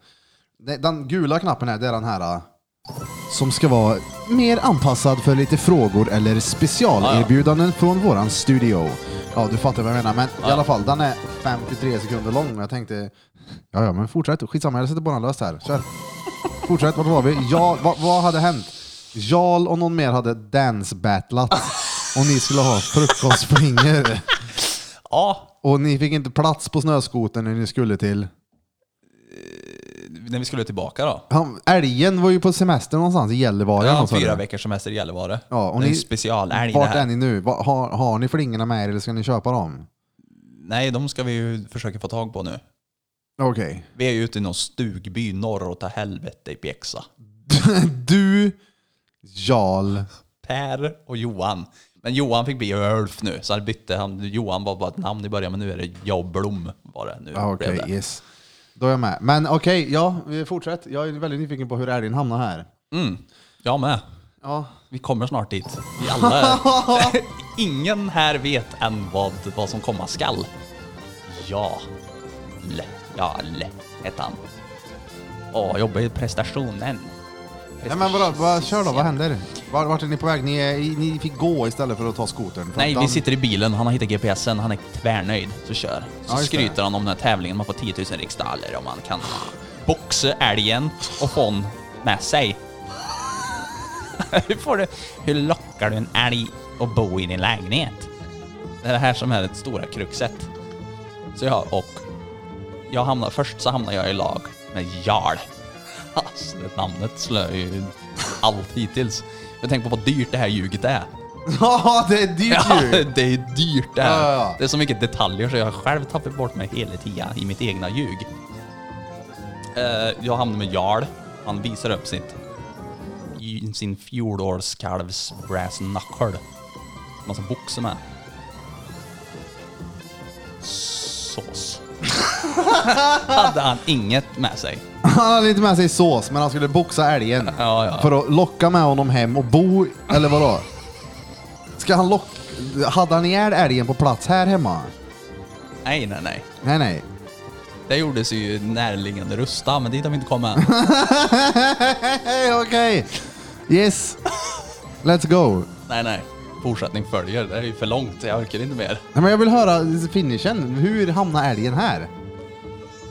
A: Det- Den gula knappen här, det är den här äh, som ska vara mer anpassad för lite frågor eller specialerbjudanden från våran studio. Ja, du fattar vad jag menar. Men i alla fall, den är 53 sekunder lång och jag tänkte, ja, ja, men fortsätt. Skitsamma, jag sätter bollen löst här. Kör. Fortsätt, vart var vi? Ja, vad, vad hade hänt? Jarl och någon mer hade dance-battlat och ni skulle ha frukostflingor.
B: Ja,
A: Och ni fick inte plats på snöskotern när ni skulle till...
B: när vi skulle tillbaka då.
A: Han, älgen var ju på semester någonstans i Gällivare. eller
B: Ja,
A: något, sa du.
B: fyra veckors semester i Gällivare.
A: Ja, och
B: det är
A: ni-
B: en specialälg det
A: Vart är
B: här.
A: ni nu? Va- Har, har ni flingorna med er eller ska ni köpa dem?
B: Nej, de ska vi ju försöka få tag på nu.
A: Okej.
B: Vi är ju ute i någon stugby norr åt helvete i Pjäxa.
A: Du, Jarl.
B: Per och Johan. Men Johan fick bli Ulf nu, så han bytte han. Johan var bara ett namn i början, men nu är det jag Blom var det. Nu
A: Ja,
B: blev
A: Ah, Okej,
B: det.
A: yes. Då är jag med. Men okej, ja, vi fortsätter. Jag är väldigt nyfiken på hur älgen hamnar här.
B: Jag med.
A: Ja.
B: Vi kommer snart dit. Vi alla är... Ingen här vet än vad, vad som komma skall. Ja. Le. Ja, le. Hette han. Åh, jobbar ju prestationen.
A: Nej, men vadå, vad, kör då, vad händer? Var- Vart är ni på väg? Ni, är, ni fick gå istället för att ta skotern. För
B: Nej,
A: att
B: vi
A: den-
B: sitter i bilen, han har hittat GPSen, han är tvärnöjd. Så kör. Så
A: Ja, just det.
B: skryter han om den här tävlingen, man får 10 000 riksdaler om man kan boxa älgen och få den med sig. hur, får du, hur lockar du en älg att bo i din lägenhet? Det är det här som är det stora kruxet. Så jag och... Jag hamnar, först så hamnar jag i lag med Jarl. Alltså, det namnet slöar ju allt hittills. Men tänk på vad dyrt det här ljuget är.
A: Ja, det är dyrt
B: Ja,
A: ju.
B: det är dyrt det här.
A: Ja, ja, ja.
B: Det är så mycket detaljer så jag har själv tappat bort mig hela tiden i mitt egna ljug. Eh, jag hamnar med Jarl. Han visar upp sitt, i- sin fjolårskalvs brass knuckle. Massa boxar med. Sås. Hade han inget med sig.
A: Han hade inte med sig sås, men han skulle boxa älgen.
B: Ja, ja.
A: För att locka med honom hem och bo, eller vadå? Ska han locka... Hade han ihjäl älgen på plats här hemma?
B: Nej, nej, nej.
A: Nej, nej.
B: Det gjordes ju i närliggande Rusta, men dit har vi inte kommit än.
A: Okej! Yes! Let's go!
B: Nej, nej. Fortsättning följer. Det är ju för långt. Jag orkar inte mer.
A: Nej, men jag vill höra finishen. Hur hamnar älgen här?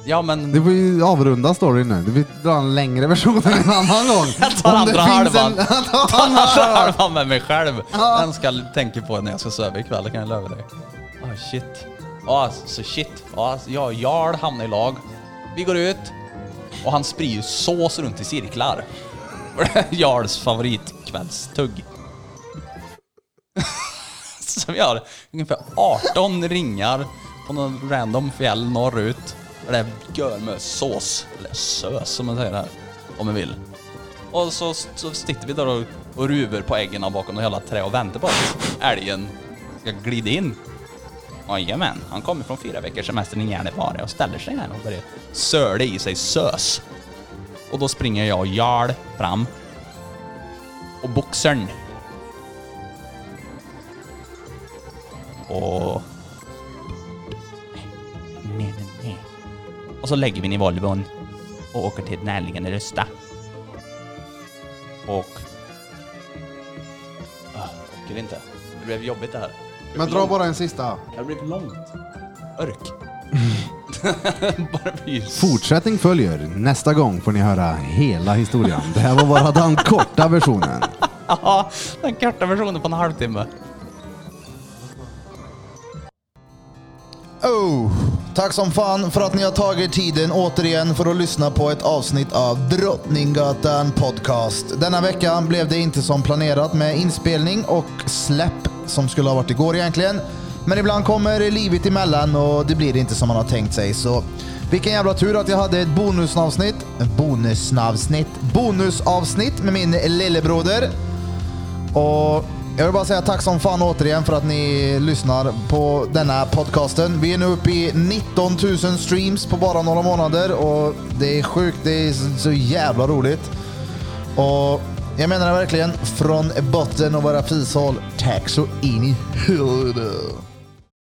B: Ja,
A: Det
B: men...
A: får ju avrunda storyn nu. Du vill dra en längre version en annan gång.
B: Jag tar
A: Om det
B: andra
A: finns
B: halvan.
A: en- Jag tar
B: Ta
A: andra
B: andra
A: halvan.
B: halvan med mig själv.
A: Ja.
B: Den ska jag tänka på när jag ska sova ikväll, det kan jag lova dig. Ah, shit. Ah, så shit. Ah, jag och Jarl hamnar i lag. Vi går ut. Och han sprider ju sås runt i cirklar. Och det är Jarls favoritkvällstugg. Som gör ungefär 18 ringar på någon random fjäll norrut. Där det är gör med sås. Eller sös som man säger här. Om man vill. Och så, så sitter vi där och, och ruvar på äggen bakom något jävla trä och väntar på att älgen ska glida in. Jajamän, han kommer från fyra veckors semester i Gällivare och ställer sig här och börjar söla i sig sös. Och då springer jag och Jarl fram. Och boxern. Och... Nej, nej, nej. Och så lägger vi den i Volvon och åker till närliggande Rösta. Och... Ah, orkar inte. Det blev jobbigt det här. Det
A: Men
B: blev
A: dra
B: långt.
A: bara en sista.
B: Det blev långt. Örk. Bara blir
A: Fortsättning följer. Nästa gång får ni höra hela historien. Det här var bara den korta versionen.
B: Ja, den korta versionen på en halvtimme.
C: Oh, tack som fan för att ni har tagit tiden återigen för att lyssna på ett avsnitt av Drottninggatan Podcast. Denna veckan blev det inte som planerat med inspelning och släpp som skulle ha varit igår egentligen. Men ibland kommer livet emellan och det blir inte som man har tänkt sig. Så vilken jävla tur att jag hade ett bonusavsnitt, bonusavsnitt, bonusavsnitt med min lillebroder. Och jag vill bara säga tack som fan återigen för att ni lyssnar på denna podcasten. Vi är nu uppe i 19 000 streams på bara några månader och det är sjukt, det är så- så jävla roligt. Och jag menar det verkligen från botten av våra fishål. Tack så in i huvudet.